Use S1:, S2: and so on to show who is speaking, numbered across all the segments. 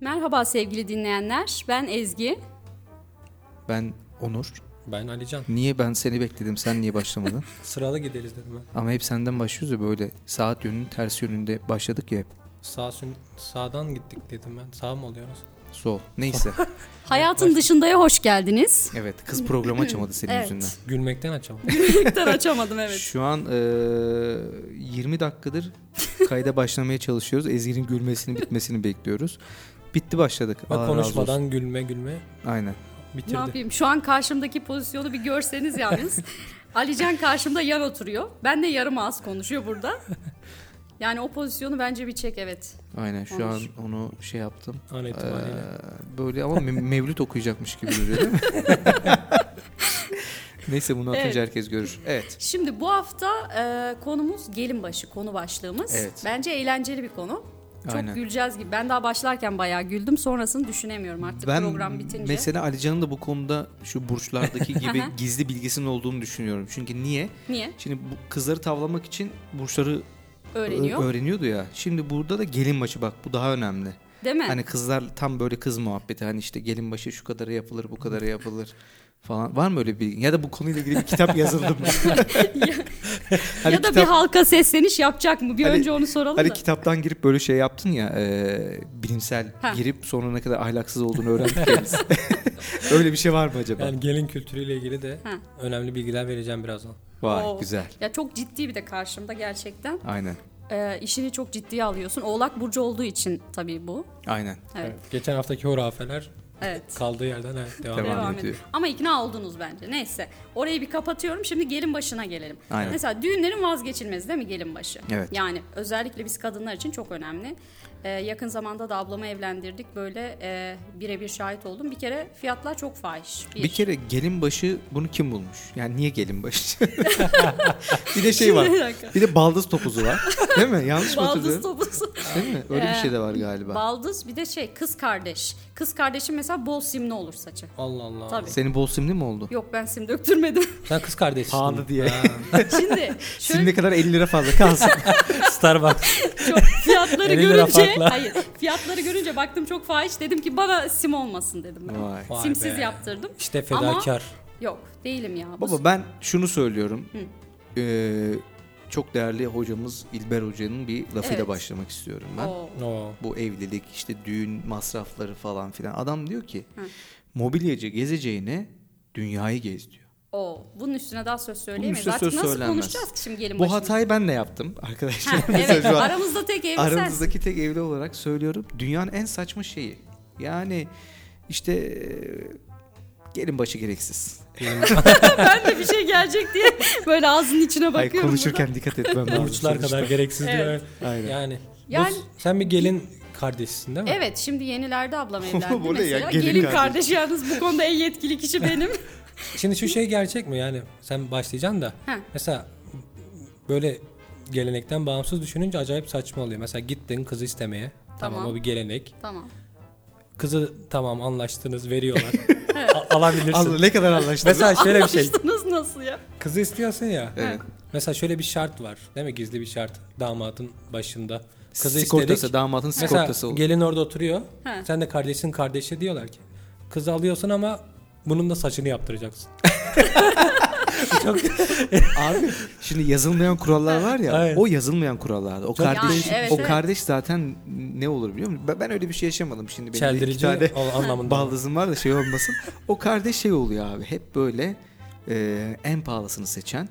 S1: Merhaba sevgili dinleyenler. Ben Ezgi.
S2: Ben Onur.
S3: Ben Alican.
S2: Niye ben seni bekledim sen niye başlamadın?
S3: Sıralı gideriz dedim ben.
S2: Ama hep senden başlıyoruz ya böyle saat yönünün tersi yönünde başladık ya hep.
S3: Sağ sün- sağdan gittik dedim ben. Sağ mı oluyoruz?
S2: Sol. Neyse.
S1: Hayatın dışındaya hoş geldiniz.
S2: evet kız programı açamadı senin
S1: Evet.
S2: yüzünden.
S3: Gülmekten açamadım.
S1: Miktar açamadım evet.
S2: Şu an eee, 20 dakikadır kayda başlamaya çalışıyoruz. Ezgi'nin gülmesini bitmesini bekliyoruz. Bitti başladık. Allah
S3: Bak
S2: razı olsun.
S3: konuşmadan gülme gülme
S2: Aynen.
S1: Ne
S3: bitirdi.
S1: yapayım? Şu an karşımdaki pozisyonu bir görseniz yalnız. Alican karşımda yan oturuyor. Ben de yarım ağız konuşuyor burada. Yani o pozisyonu bence bir çek evet.
S2: Aynen şu an onu şey yaptım.
S3: An itibariyle.
S2: Eee, böyle ama me- mevlüt okuyacakmış gibi duruyor değil mi? Neyse bunu atınca
S1: Evet.
S2: herkes görür. Evet.
S1: Şimdi bu hafta e, konumuz gelin başı konu başlığımız.
S2: Evet.
S1: Bence eğlenceli bir konu. Çok
S2: Aynen.
S1: güleceğiz gibi. Ben daha başlarken bayağı güldüm. Sonrasını düşünemiyorum artık program bitince.
S2: mesela Alican'ın da bu konuda şu burçlardaki gibi gizli bilgisinin olduğunu düşünüyorum. Çünkü niye?
S1: Niye?
S2: Şimdi bu kızları tavlamak için burçları ö-
S1: Öğreniyor.
S2: öğreniyordu ya. Şimdi burada da gelin başı bak bu daha önemli.
S1: Değil mi?
S2: Hani kızlar tam böyle kız muhabbeti hani işte gelin başı şu kadarı yapılır bu kadarı yapılır falan. Var mı öyle bir bilgi? Ya da bu konuyla ilgili bir kitap yazıldı mı? Hani
S1: ya da
S2: kitap-
S1: bir halka sesleniş yapacak mı? Bir
S2: Hani-
S1: önce onu soralım
S2: Hani
S1: da.
S2: kitaptan girip böyle şey yaptın ya e, bilimsel
S1: Ha.
S2: girip sonra ne kadar ahlaksız olduğunu öğrendik ya biz. Öyle bir şey var mı acaba?
S3: Yani gelin kültürüyle ilgili de
S1: Ha.
S3: önemli bilgiler vereceğim birazdan.
S2: Vay
S1: Oo.
S2: güzel.
S1: Ya çok ciddi bir de karşımda gerçekten.
S2: Aynen.
S1: Ee, işini çok ciddiye alıyorsun. Oğlak burcu olduğu için tabii bu.
S2: Aynen.
S1: Evet.
S3: Evet, Geçen haftaki hurafeler
S1: Evet.
S3: kaldığı yerden evet, devam
S2: Devam.
S3: ediyor.
S1: Devam
S2: ediyor.
S1: edin. Ama ikna oldunuz bence. Neyse. Orayı bir kapatıyorum. Şimdi gelin başına gelelim.
S2: Aynen.
S1: Mesela düğünlerin vazgeçilmezi değil mi gelin başı?
S2: Evet.
S1: Yani özellikle biz kadınlar için çok önemli. Ee, yakın zamanda da ablamı evlendirdik. Böyle e, birebir şahit oldum. Bir kere fiyatlar çok fahiş.
S2: Bir kere gelin başı bunu kim bulmuş? Yani niye gelin başı? bir de şey var.
S1: Bir dakika.
S2: Bir de baldız topuzu var. Değil mi? Yanlış mı
S1: Baldız
S2: hatırlıyorum?
S1: topuzu.
S2: Değil mi? Öyle bir
S1: Ee,
S2: şey de var galiba.
S1: Baldız bir de şey kız kardeş. Kız kardeşim mesela bol simli olur saçı.
S3: Allah Allah.
S1: Tabii.
S2: Senin bol simli mi oldu?
S1: Yok ben sim döktürmedim.
S3: Sen kız kardeşsin.
S2: Pahalı diye.
S3: Ha,
S1: Şimdi
S2: Sim
S1: şöyle
S2: ne kadar 50 lira fazla kalsın.
S3: Starbucks.
S1: çok fiyatları
S3: 50 lira
S1: görünce
S3: farkla.
S1: hayır fiyatları görünce baktım çok fahiş dedim ki bana sim olmasın dedim ben.
S2: Vay.
S3: Vay
S1: Simsiz
S3: be.
S1: yaptırdım.
S3: İşte fedakar.
S1: Ama yok değilim ya. Bu-
S2: Baba ben şunu söylüyorum. Ee, çok değerli hocamız İlber Hoca'nın bir lafıyla
S1: Evet.
S2: başlamak istiyorum ben.
S1: Oo.
S3: Oo.
S2: Bu evlilik işte düğün masrafları falan filan. Adam diyor ki mobilyacı gezeceğine dünyayı gez diyor.
S1: Oo. Bunun üstüne daha söz söyleyemeyiz.
S2: üstüne
S1: Artık
S2: söz
S1: nasıl
S2: söylenmez.
S1: konuşacağız ki şimdi gelin
S2: Bu
S1: başına?
S2: hatayı ben de yaptım arkadaşlar.
S1: Ha,
S2: Mesela
S1: evet
S2: şu an
S1: aramızda tek evli sensin.
S2: aranızdaki tek evli olarak söylüyorum. Dünyanın en saçma şeyi. Yani işte e, gelin başı gereksiz.
S1: Ben de bir şey gelecek diye böyle ağzının içine
S2: Ay,
S1: bakıyorum.
S2: konuşurken dikkat etmem lazım.
S3: Burçlar
S2: sonuçta.
S3: kadar gereksiz diyor.
S1: Evet.
S2: Aynen.
S3: Yani. bu-
S1: Yani-
S3: sen bir gelin kardeşsin değil mi?
S1: Evet şimdi yenilerde ablam evlendi
S2: Bu ne ya,
S1: mesela.
S2: gelin
S1: gelin
S2: kardeş.
S1: kardeş yalnız bu konuda en yetkili kişi benim.
S3: Şimdi şu şey gerçek mi yani sen başlayacaksın da
S1: Heh.
S3: mesela böyle gelenekten bağımsız düşününce acayip saçma oluyor. Mesela gittin kızı istemeye tamam,
S1: Tamam.
S3: o bir gelenek.
S1: tamam.
S3: Kızı tamam anlaştınız veriyorlar A- alabilirsin.
S2: Allah, ne kadar anlaştık.
S3: mesela şöyle bir şey
S1: Anlaştınız nasıl ya?
S3: kızı istiyorsun ya
S2: Evet.
S3: mesela şöyle bir şart var değil mi gizli bir şart damatın başında. Kızı
S2: sigortası,
S3: istedik.
S2: damatın
S3: Mesela
S2: sigortası olur.
S3: gelin orada oturuyor
S1: He.
S3: sen de kardeşin kardeşi diyorlar ki kızı alıyorsun ama bunun da saçını yaptıracaksın.
S2: Abi şimdi yazılmayan kurallar var ya
S3: Aynen.
S2: o yazılmayan kurallarda. O kardeş
S1: değişik. şey. Yani evet,
S2: o
S1: evet.
S2: kardeş zaten ne olur biliyor musun? Ben, ben öyle bir şey yaşamadım şimdi. Benim de iki
S3: Çeldirici
S2: tane
S3: ol- anlamında.
S2: baldızım var da şey olmasın. o kardeş şey oluyor abi. Hep böyle e, en pahalısını seçen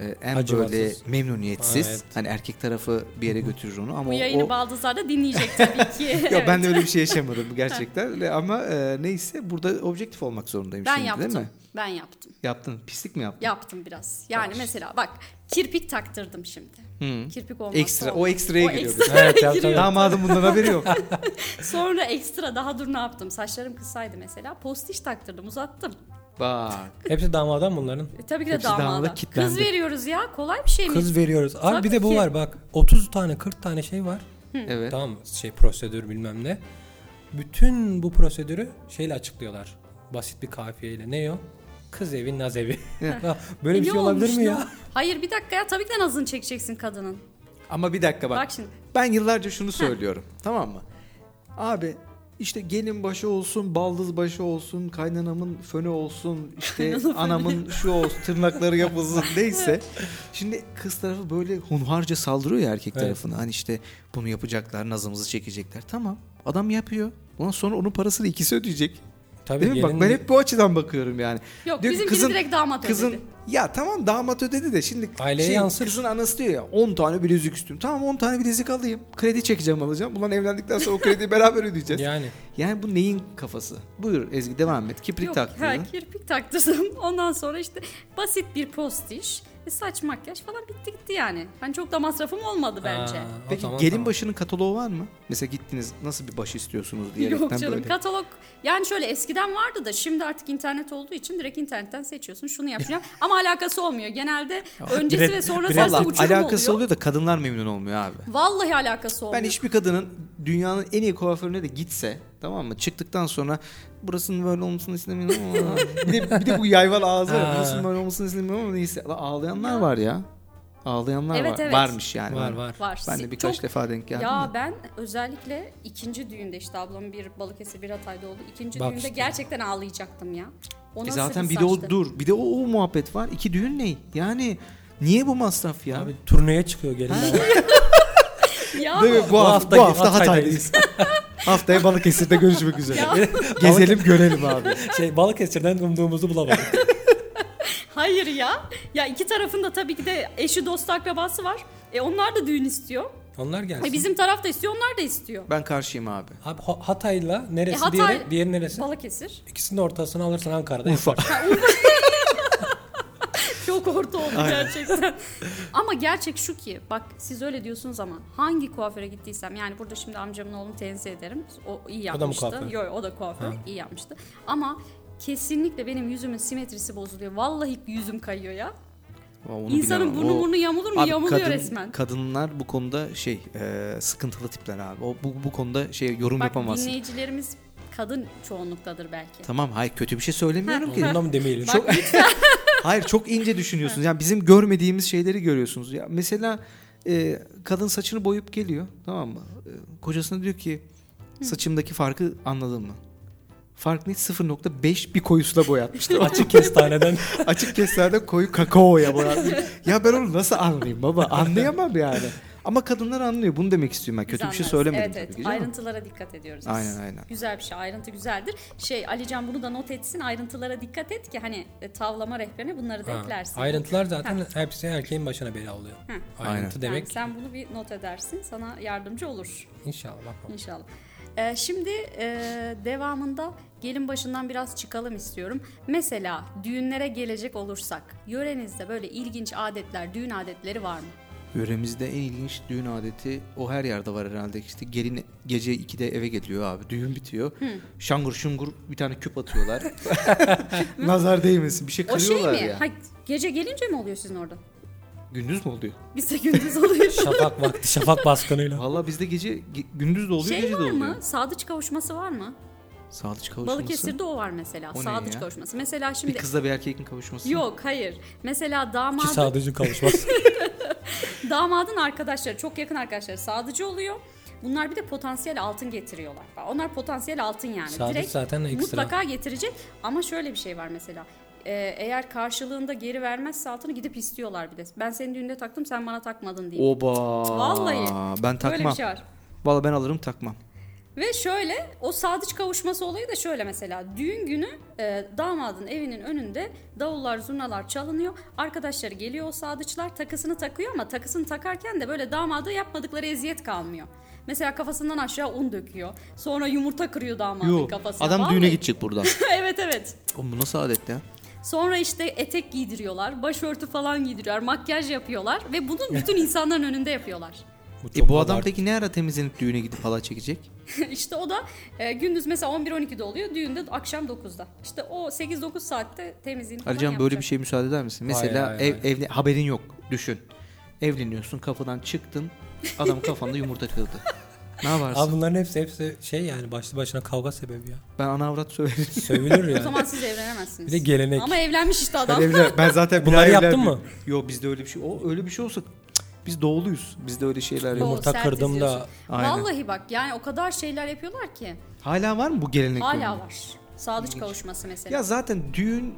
S2: e, en
S3: Acımasız.
S2: böyle memnuniyetsiz.
S3: Ha, evet.
S2: Hani erkek tarafı bir yere götürür onu ama
S1: Bu
S2: o-
S1: yayını
S2: o
S1: Baldızlar da dinleyecek tabii ki.
S2: ya
S1: Evet.
S2: ben de öyle bir şey yaşamadım gerçekten. Öyle ama e, neyse burada objektif olmak zorundayım
S1: Ben
S2: şimdi
S1: yaptım.
S2: değil mi?
S1: Ben yaptım.
S2: Yaptın. Pislik mi yaptın?
S1: Yaptım biraz. Yani mesela bak kirpik taktırdım şimdi. Kirpik olmazsa
S2: Ekstra- o
S1: olmaz.
S2: ekstraya
S1: O
S2: giriyoruz.
S1: ekstra-
S3: Evet, tabii, tabii.
S2: Damadım bundan haberi yok.
S1: Sonra ekstra daha dur ne yaptım? Saçlarım kısaydı mesela. Postiş taktırdım uzattım.
S2: Bak.
S3: Hepsi damadan bunların.
S1: E, tabii ki de
S2: Hepsi damada
S1: damada. Kız
S2: kilitlendi.
S1: veriyoruz ya kolay bir şey mi?
S3: Kız veriyoruz. Abi
S1: Tabii
S3: bir de bu
S1: ki.
S3: var bak. 30 tane 40 tane şey var.
S2: Evet.
S3: Tamam mı? Şey prosedür bilmem ne. Bütün bu prosedürü şeyle açıklıyorlar. Basit bir kafiyeyle. Ne o? Kız evi naz evi. Ya Böyle bir
S1: E, Ne
S3: şey olabilir
S1: olmuş
S3: mi
S1: lan?
S3: ya?
S1: Hayır bir dakika ya tabii ki de nazını çekeceksin kadının.
S2: Ama bir dakika bak.
S1: Bak şimdi.
S2: Ben yıllarca şunu söylüyorum. tamam mı? Abi İşte gelin başı olsun, baldız başı olsun, kaynanamın fönü olsun, işte
S1: Kaynana fönü.
S2: anamın şu olsun, tırnakları yapılsın neyse. Şimdi kız tarafı böyle hunharca saldırıyor ya erkek
S3: Evet.
S2: tarafına. Hani işte bunu yapacaklar, nazımızı çekecekler. Tamam adam yapıyor. Ondan sonra onun parasını ikisi ödeyecek.
S3: Tabii
S2: Değil mi? Bak
S3: gelin-
S2: ben hep bu açıdan bakıyorum yani.
S1: Yok
S2: Diyor ki
S1: bizimkini direkt damat
S2: kızın,
S1: ödedi.
S2: Ya tamam damat ödedi de şimdi
S3: Aileye
S2: şey,
S3: yansır.
S2: kızın anası diyor ya 10 tane bilezik istiyorum. Tamam 10 tane bilezik alayım. Kredi çekeceğim alacağım. Bundan evlendikten sonra o krediyi beraber ödeyeceğiz.
S3: Yani
S2: Yani bu neyin kafası? Buyur Ezgi devam et. Kiprik
S1: Yok,
S2: taktığını.
S1: Ha, kirpik taktırdım. Ondan sonra işte basit bir postiş, e, saç makyaj falan bitti gitti yani. Hani çok da masrafım olmadı bence.
S3: Aa, o
S2: Peki
S3: zaman
S2: gelin
S3: tamam.
S2: başının kataloğu var mı? Mesela gittiniz nasıl bir baş istiyorsunuz diyerekten
S1: Yok canım
S2: böyle.
S1: katalog yani şöyle eskiden vardı da şimdi artık internet olduğu için direkt internetten seçiyorsun şunu yapacağım ama alakası olmuyor. Genelde öncesi
S3: Brad-
S1: ve sonrası
S2: Valla
S1: arasında uçurum
S2: alakası
S1: oluyor.
S2: oluyor da kadınlar memnun olmuyor abi.
S1: Vallahi alakası olmuyor.
S2: Ben hiçbir kadının dünyanın en iyi kuaförüne de gitse tamam mı? Çıktıktan sonra burasının böyle olmasını istemiyorum ama bir, de, bir de bu yayvan ağzı var.
S3: Ha.
S2: Burasının böyle olmasını istemiyorum ama neyse. Lan Ağlayanlar var ya. Ağlayanlar
S1: Evet,
S2: var.
S1: evet.
S2: Varmış yani.
S3: var var.
S1: var.
S2: Ben
S1: Si-
S2: de birkaç
S1: çok-
S2: defa denk geldim.
S1: Ya
S2: de.
S1: ben özellikle ikinci düğünde işte ablamın bir Balıkesir bir Hatay'da oldu. İkinci
S3: Bak
S1: düğünde
S3: işte.
S1: gerçekten ağlayacaktım ya. O
S2: E
S1: nasıl
S2: zaten bir de
S1: saçtı?
S2: o dur. Bir de o, o muhabbet var. İki düğün ne? Yani niye bu masraf ya?
S3: Abi turneye çıkıyor gelinler.
S1: Ya
S2: Değil mi? Bu, hafta,
S3: hafta-
S2: bu hafta
S3: Hatay'dayız.
S2: Hatay'dayız. Haftaya Balıkesir'de görüşmek üzere.
S1: Ya.
S2: Gezelim görelim abi.
S3: şey Balıkesir'den umduğumuzu bulamadık.
S1: hayır ya. Ya iki tarafında tabii ki de eşi dostu akrabası var. E onlar da düğün istiyor.
S3: Onlar gelsin.
S1: E bizim taraf da istiyor onlar da istiyor.
S2: Ben karşıyım abi.
S3: Abi Ha- Hatay'la neresi
S1: E, Hatay-
S3: diğeri, diğeri neresi?
S1: Balıkesir.
S3: İkisinin ortasını alırsan Ankara'da
S2: Urfa.
S1: Çok orta oldu gerçekten. ama gerçek şu ki bak siz öyle diyorsunuz ama hangi kuaföre gittiysem yani burada şimdi amcamın oğlunu tenzih ederim. O iyi
S3: O da mı
S1: yapmıştı.
S3: kuaför?
S1: Yo, yo, o da kuaför.
S3: Ha.
S1: iyi yapmıştı. Ama kesinlikle benim yüzümün simetrisi bozuluyor. Vallahi yüzüm kayıyor ya.
S2: Ama onu
S1: İnsanın
S2: bilemem.
S1: burnu
S2: O-
S1: burnu yamulur mu?
S2: Abi
S1: Yamuluyor
S2: kadın-
S1: resmen.
S2: Kadınlar bu konuda şey e, sıkıntılı tipler abi. O bu, bu konuda şey yorum
S1: Bak
S2: yapamazsın.
S1: dinleyicilerimiz kadın çoğunluktadır belki.
S2: Tamam hayır kötü bir şey söylemiyorum ki.
S3: Ondan mı demeyelim?
S1: Bak,
S2: Hayır çok ince düşünüyorsunuz. Yani bizim görmediğimiz şeyleri görüyorsunuz. Ya mesela e, kadın saçını boyup geliyor tamam mı? E, kocasına diyor ki saçımdaki farkı anladın mı? Fark ne? 0.5 bir koyusuna boyatmış. tamam mı?
S3: Açık kestaneden.
S2: Açık keslerde koyu kakaoya boyatmış. ya ben onu nasıl anlayayım baba? Anlayamam yani. Ama kadınlar anlıyor. Bunu demek istiyorum ben.
S1: Biz
S2: Kötü bir şey
S1: anlarız.
S2: söylemedim
S1: evet,
S2: tabii
S1: evet.
S2: ki canım.
S1: Ayrıntılara dikkat ediyoruz biz.
S2: Aynen, aynen.
S1: Güzel bir şey. Ayrıntı güzeldir. Şey Alican bunu da not etsin. Ayrıntılara dikkat et ki hani e, tavlama rehberine bunları da
S3: Ha,
S1: eklersin.
S3: Ayrıntılar zaten hepsi erkeğin başına bela oluyor.
S1: Hı.
S3: Ayrıntı
S1: Yani
S3: demek
S1: sen bunu bir not edersin. Sana yardımcı olur
S3: inşallah. bakalım.
S1: inşallah. E, şimdi e, devamında gelin başından biraz çıkalım istiyorum. Mesela düğünlere gelecek olursak yörenizde böyle ilginç adetler, düğün adetleri var mı?
S2: Yöremizde en ilginç düğün adeti o her yerde var herhalde. İşte gelin gece 2'de eve geliyor abi. Düğün bitiyor. Şangur şungur bir tane küp atıyorlar. Nazar değmesin. Bir şey
S1: O şey
S2: kırıyorlar
S1: mi?
S2: ya.
S1: Ha, gece gelince mi oluyor sizin orada?
S2: Gündüz mü oluyor?
S1: Bizde gündüz oluyor.
S3: Şafak vakti, şafak baskınıyla.
S2: Valla bizde gece ge- gündüz de oluyor
S1: Şey
S2: gece de
S1: var
S2: oluyor.
S1: mı? Sadıç kavuşması var mı?
S2: Sadıç kavuşması.
S1: Balıkesir'de o var mesela.
S2: O ne
S1: Sadıç
S2: ya?
S1: kavuşması. Mesela
S2: Bir
S1: şimdi
S2: kızla bir erkeğin kavuşması.
S1: Yok hayır. Mesela
S3: İki
S1: damadın,
S3: sadıcı kavuşmaz.
S1: damadın arkadaşları, çok yakın arkadaşları sadıcı oluyor. Bunlar bir de potansiyel altın getiriyorlar. Onlar potansiyel altın yani.
S3: Sadıç
S1: Direkt
S3: zaten ekstra.
S1: Mutlaka getirecek ama şöyle bir şey var mesela. Ee, eğer karşılığında geri vermezse altını gidip istiyorlar bir de. Ben senin düğünde taktım sen bana takmadın diye.
S2: Oba.
S1: Vallahi.
S2: Ben
S1: Böyle bir
S2: takmam.
S1: şey var.
S2: Valla ben alırım takmam.
S1: Ve şöyle o sadıç kavuşması olayı da şöyle mesela düğün günü e, damadın evinin önünde davullar zurnalar çalınıyor. Arkadaşları geliyor o sadıçlar takısını takıyor ama takısını takarken de böyle damada yapmadıkları eziyet kalmıyor. Mesela kafasından aşağı un döküyor. Sonra yumurta kırıyor damadın
S2: Yok.
S1: kafasına.
S2: Adam
S1: Vallahi-
S2: düğüne gidecek buradan.
S1: evet evet.
S2: Oğlum bu nasıl adet ya?
S1: Sonra işte etek giydiriyorlar, başörtü falan giydiriyorlar, makyaj yapıyorlar ve bunu bütün insanların önünde yapıyorlar.
S3: çok
S2: E bu adam
S3: abartı.
S2: peki ne ara temizlenip düğüne gidip halay çekecek?
S1: işte o da e, gündüz mesela 11-12'de oluyor. Düğünde akşam 9'da. İşte o 8-9 saatte temizliğini falan
S2: Alican böyle
S1: yapacak.
S2: bir şey şeye müsaade eder misin? Mesela
S3: hayır,
S2: ev, evli- haberin yok. Düşün. Evleniyorsun kapıdan çıktın. Adam kafanda yumurta kırdı. Ne yaparsın?
S3: Abi bunların hepsi hepsi şey yani başlı başına kavga sebebi ya.
S2: ben ana avrat söylerim.
S3: Sövülür
S1: O
S3: yani.
S1: zaman siz evlenemezsiniz.
S3: Bir de gelenek.
S1: Ama evlenmiş işte adam.
S2: ben zaten
S3: Bunları yaptın mı?
S2: Yok bizde öyle bir şey. O öyle bir şey olsa Biz doğuluyuz. Bizde öyle şeyler yok.
S1: Doğu,
S3: Yumurta
S1: sert
S3: kırdım da-
S1: izliyorsun.
S2: Aynen.
S1: Vallahi bak yani o kadar şeyler yapıyorlar ki.
S2: Hala var mı bu gelenek?
S1: Hala
S2: böyle?
S1: var. Sadıç kavuşması mesela.
S2: Ya zaten düğün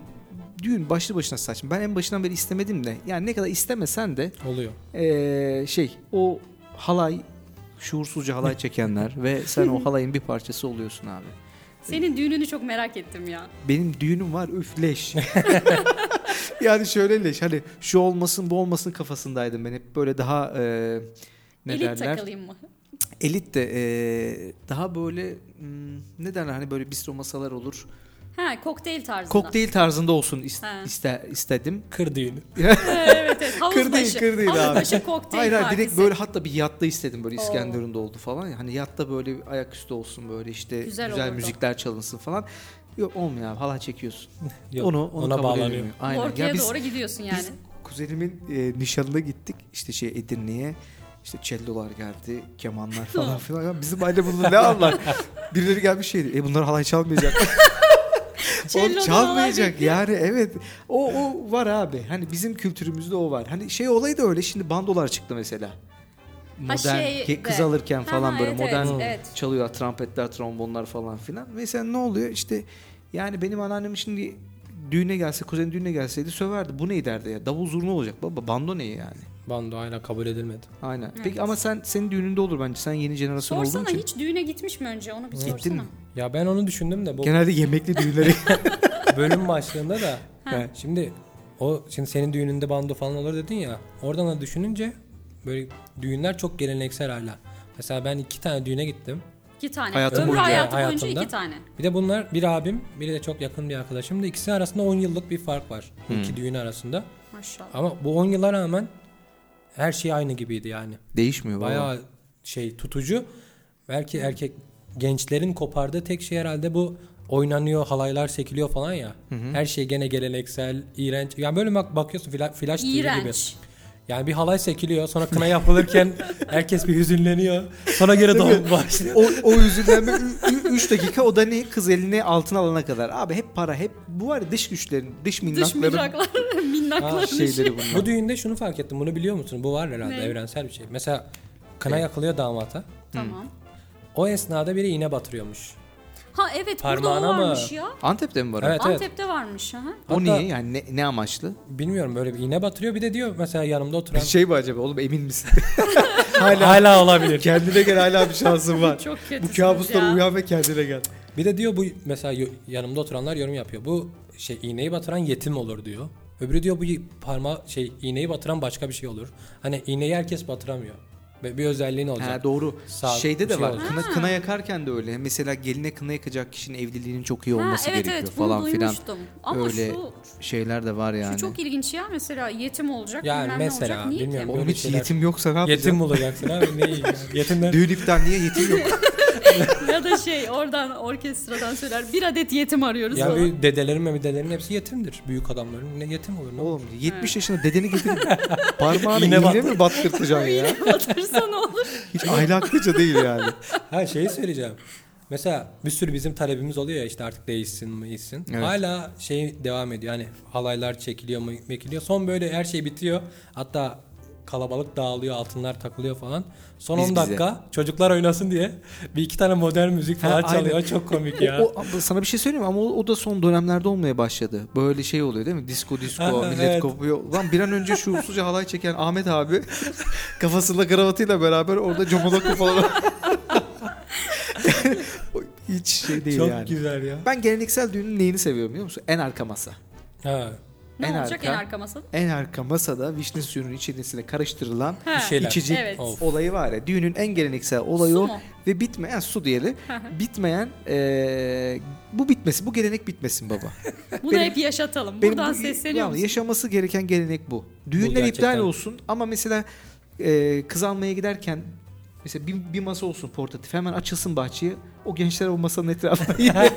S2: düğün başlı başına saçma. Ben en başından beri istemedim de. Yani ne kadar istemesen de
S3: Oluyor.
S2: eee, şey o halay şuursuzca halay çekenler ve sen o halayın bir parçası oluyorsun abi.
S1: Senin düğününü çok merak ettim ya.
S2: Benim düğünüm var üf leş. yani şöyle leş hani şu olmasın bu olmasın kafasındaydım ben hep böyle daha eee ne
S1: Elit
S2: derler
S1: takılayım mı?
S2: elit de eee, daha böyle hmm, ne derler hani böyle bistro masalar olur
S1: Ha kokteyl tarzında.
S2: kokteyl tarzında olsun
S1: Ha.
S2: is- iste- istedim
S3: Kır düğünü.
S1: evet evet. Havuz
S2: Kır değil,
S1: başı.
S2: kır değil
S1: Havuz
S2: abi.
S1: başı kokteyl
S2: Hayır hayır
S1: partisi.
S2: direkt böyle hatta bir yatta istedim böyle
S1: Oo.
S2: İskenderun'da oldu falan. ya. Hani yatta böyle bir ayaküstü olsun böyle işte
S1: Güzel
S2: güzel,
S1: olurdu.
S2: müzikler çalınsın falan. Yok olmuyor abi hala çekiyorsun.
S3: Yok,
S2: onu, onu
S3: ona
S2: kabul
S3: bağlanıyor.
S2: edemiyorum. Aynen.
S1: Ortaya
S2: ya biz,
S1: doğru gidiyorsun yani.
S2: biz kuzenimin e, nişanına gittik işte şey Edirne'ye. İşte cellolar geldi, kemanlar falan filan. Ya bizim aile bunu ne anlar? Birileri gelmiş şeydi. E bunlar halay çalmayacak.
S1: Cello'dan
S2: o çalmayacak
S1: halay
S2: yani evet. O, o var abi. Hani bizim kültürümüzde o var. Hani şey olayı da öyle. Şimdi bandolar çıktı mesela. Modern
S1: şey
S2: ke- kız
S1: de.
S2: alırken
S1: Ha,
S2: falan böyle
S1: evet,
S2: modern
S1: evet, evet.
S2: çalıyor trompetler, trombonlar falan filan. Ve sen ne oluyor? İşte yani benim anneannem şimdi düğüne gelse, kuzenin düğüne gelseydi söverdi. Bu ne derdi ya? Davul zurna olacak baba. Bando ne yani?
S3: Bando hala kabul edilmedi.
S2: Aynen.
S1: Evet.
S2: Peki ama sen senin düğününde olur bence. Sen yeni jenerasyon olduğun
S1: Sorsana
S2: için.
S1: hiç düğüne gitmiş mi önce onu bir sorsana.
S2: Gittin mi?
S3: Ya ben onu düşündüm de bu
S2: Genelde yemekli düğünlere
S3: bölüm başlığında da
S2: Ha.
S3: şimdi o şimdi senin düğününde bando falan olur dedin ya. Oradan da düşününce böyle düğünler çok geleneksel hala. Mesela ben iki tane düğüne gittim.
S1: İki tane.
S2: Hayatım
S1: Ömrü
S2: boyunca,
S1: hayatı boyunca
S3: hayatımda.
S1: iki tane.
S3: Bir de bunlar bir abim, biri de çok yakın bir arkadaşım da ikisi arasında 10 yıllık bir fark var. bu
S2: Hmm.
S3: iki düğün arasında.
S1: Maşallah.
S3: Ama bu 10 yıla rağmen her şey aynı gibiydi yani.
S2: Değişmiyor baba.
S3: Bayağı şey tutucu. Belki erkek gençlerin kopardığı tek şey herhalde bu oynanıyor, halaylar sekiliyor falan ya. Her şey gene geleneksel, iğrenç. Yani böyle bak bakıyorsun fla- flash TV gibi.
S1: İğrenç.
S3: Yani bir halay sekiliyor, sonra kına yapılırken herkes bir hüzünleniyor. Sonra göre doğum başlıyor.
S2: o, o üzülenme 3 dakika o da ne kız elini altına alana kadar. Abi hep para hep bu var ya dış güçlerin
S1: Dış
S2: dış minnakların
S1: mızraklar, minnakların
S2: şeyleri
S1: şeyleri.
S2: bunlar.
S3: Bu düğünde şunu fark ettim. Bunu biliyor musun? Bu var herhalde
S1: Ne?
S3: evrensel bir şey. Mesela kına yakılıyor damata.
S2: Hmm.
S1: Tamam.
S3: O esnada biri iğne batırıyormuş.
S1: Ha evet burada
S3: Parmağına
S1: o
S3: mı?
S1: varmış ya.
S2: Antep'te mi var? o?
S3: Evet evet.
S1: Antep'te varmış. Aha.
S2: O
S3: Hatta-
S2: niye yani ne, ne amaçlı?
S3: Bilmiyorum böyle bir iğne batırıyor. Bir de diyor mesela yanımda oturan.
S2: Şey mi acaba oğlum emin misin?
S3: hala. olabilir.
S2: kendine gel hala bir şansın var.
S1: Çok kötü.
S2: bu kabuslara uyan ve kendine gel.
S3: Bir de diyor bu mesela yo- yanımda oturanlar yorum yapıyor. Bu şey iğneyi batıran yetim olur diyor. Öbürü diyor bu y- parmağı şey iğneyi batıran başka bir şey olur. Hani iğneyi herkes batıramıyor. Ve bir özelliğin olacak.
S2: Ha, doğru.
S3: Sağ-
S2: Şeyde de
S3: şey
S2: var.
S3: olacak.
S2: Kına, kına yakarken de öyle. Mesela geline kına yakacak kişinin evliliğinin çok iyi
S1: Ha,
S2: olması
S1: evet
S2: gerekiyor
S1: evet
S2: falan
S1: bunu
S2: filan.
S1: duymuştum. Ama
S2: Öyle
S1: şu,
S2: şeyler de var
S1: şu
S2: yani.
S1: çok ilginç ya mesela yetim olacak
S3: Yani
S1: bilmem ne
S3: mesela,
S1: olacak. Niye
S3: bilmiyorum.
S1: ki?
S2: Oğlum
S3: Böyle
S2: hiç
S3: şeyler-
S2: yetim yoksa ne yapacaksın?
S3: yetim olacaksın abi ne iyi. ya. Yetimler.
S2: Düğün iptal niye yetim yok?
S1: ya da şey oradan orkestradan söyler bir adet yetim arıyoruz
S3: Ya
S1: falan.
S3: bir dedelerin ve dedelerin hepsi yetimdir. Büyük adamların ne yetim olur ne olur.
S2: Oğlum 70 yaşında dedeni getirip parmağını
S3: İğne
S2: iğne
S3: battı.
S2: mi battırtacaksın ya?
S1: Batırsa ne olur?
S2: Hiç ahlaklıca değil yani.
S3: Ha şeyi söyleyeceğim. Mesela bir sürü bizim talebimiz oluyor ya işte artık değişsin mi değişsin.
S2: Evet.
S3: Hala şey devam ediyor. Hani halaylar çekiliyor mu mekiliyor. Son böyle her şey bitiyor. Hatta kalabalık dağılıyor, altınlar takılıyor falan. Son
S2: Biz bize.
S3: 10 dakika çocuklar oynasın diye bir iki tane modern müzik falan
S2: Ha,
S3: çalıyor.
S2: aynen.
S3: Çok komik ya.
S2: O, o- sana bir şey söyleyeyim mi? ama o, o da son dönemlerde olmaya başladı. Böyle şey oluyor değil mi? Disko disko
S3: Ha,
S2: millet
S3: evet.
S2: kopuyor. Lan bir an önce şuursuzca halay çeken Ahmet abi kafasında kravatıyla beraber orada comodoko falan. O Hiç şey değil
S3: Çok
S2: yani.
S3: güzel ya.
S2: Ben geleneksel düğünün neyini seviyorum biliyor musun? En arka masa.
S3: Ha,
S1: Ne
S2: En
S1: olacak
S2: arka.
S1: en arka masada?
S2: En arka masada vişne suyunun içerisine karıştırılan
S1: Ha,
S3: bir şeyler.
S2: İçecek
S1: Evet.
S3: Of.
S2: olayı var ya düğünün en geleneksel olayı
S1: Su
S2: o
S1: mu?
S2: ve bitmeyen su diyelim bitmeyen eee, bu bitmesi bu gelenek bitmesin baba.
S1: Bunu
S2: Benim-
S1: hep yaşatalım.
S2: Benim
S1: Buradan
S2: bu-
S1: sesleniyor
S2: yani
S1: musun?
S2: Yaşaması gereken gelenek bu. Düğünler
S3: gerçekten.
S2: iptal olsun ama mesela eee kız almaya giderken mesela bir, bir masa olsun portatif hemen açılsın bahçeye o gençler o masanın etrafında yine,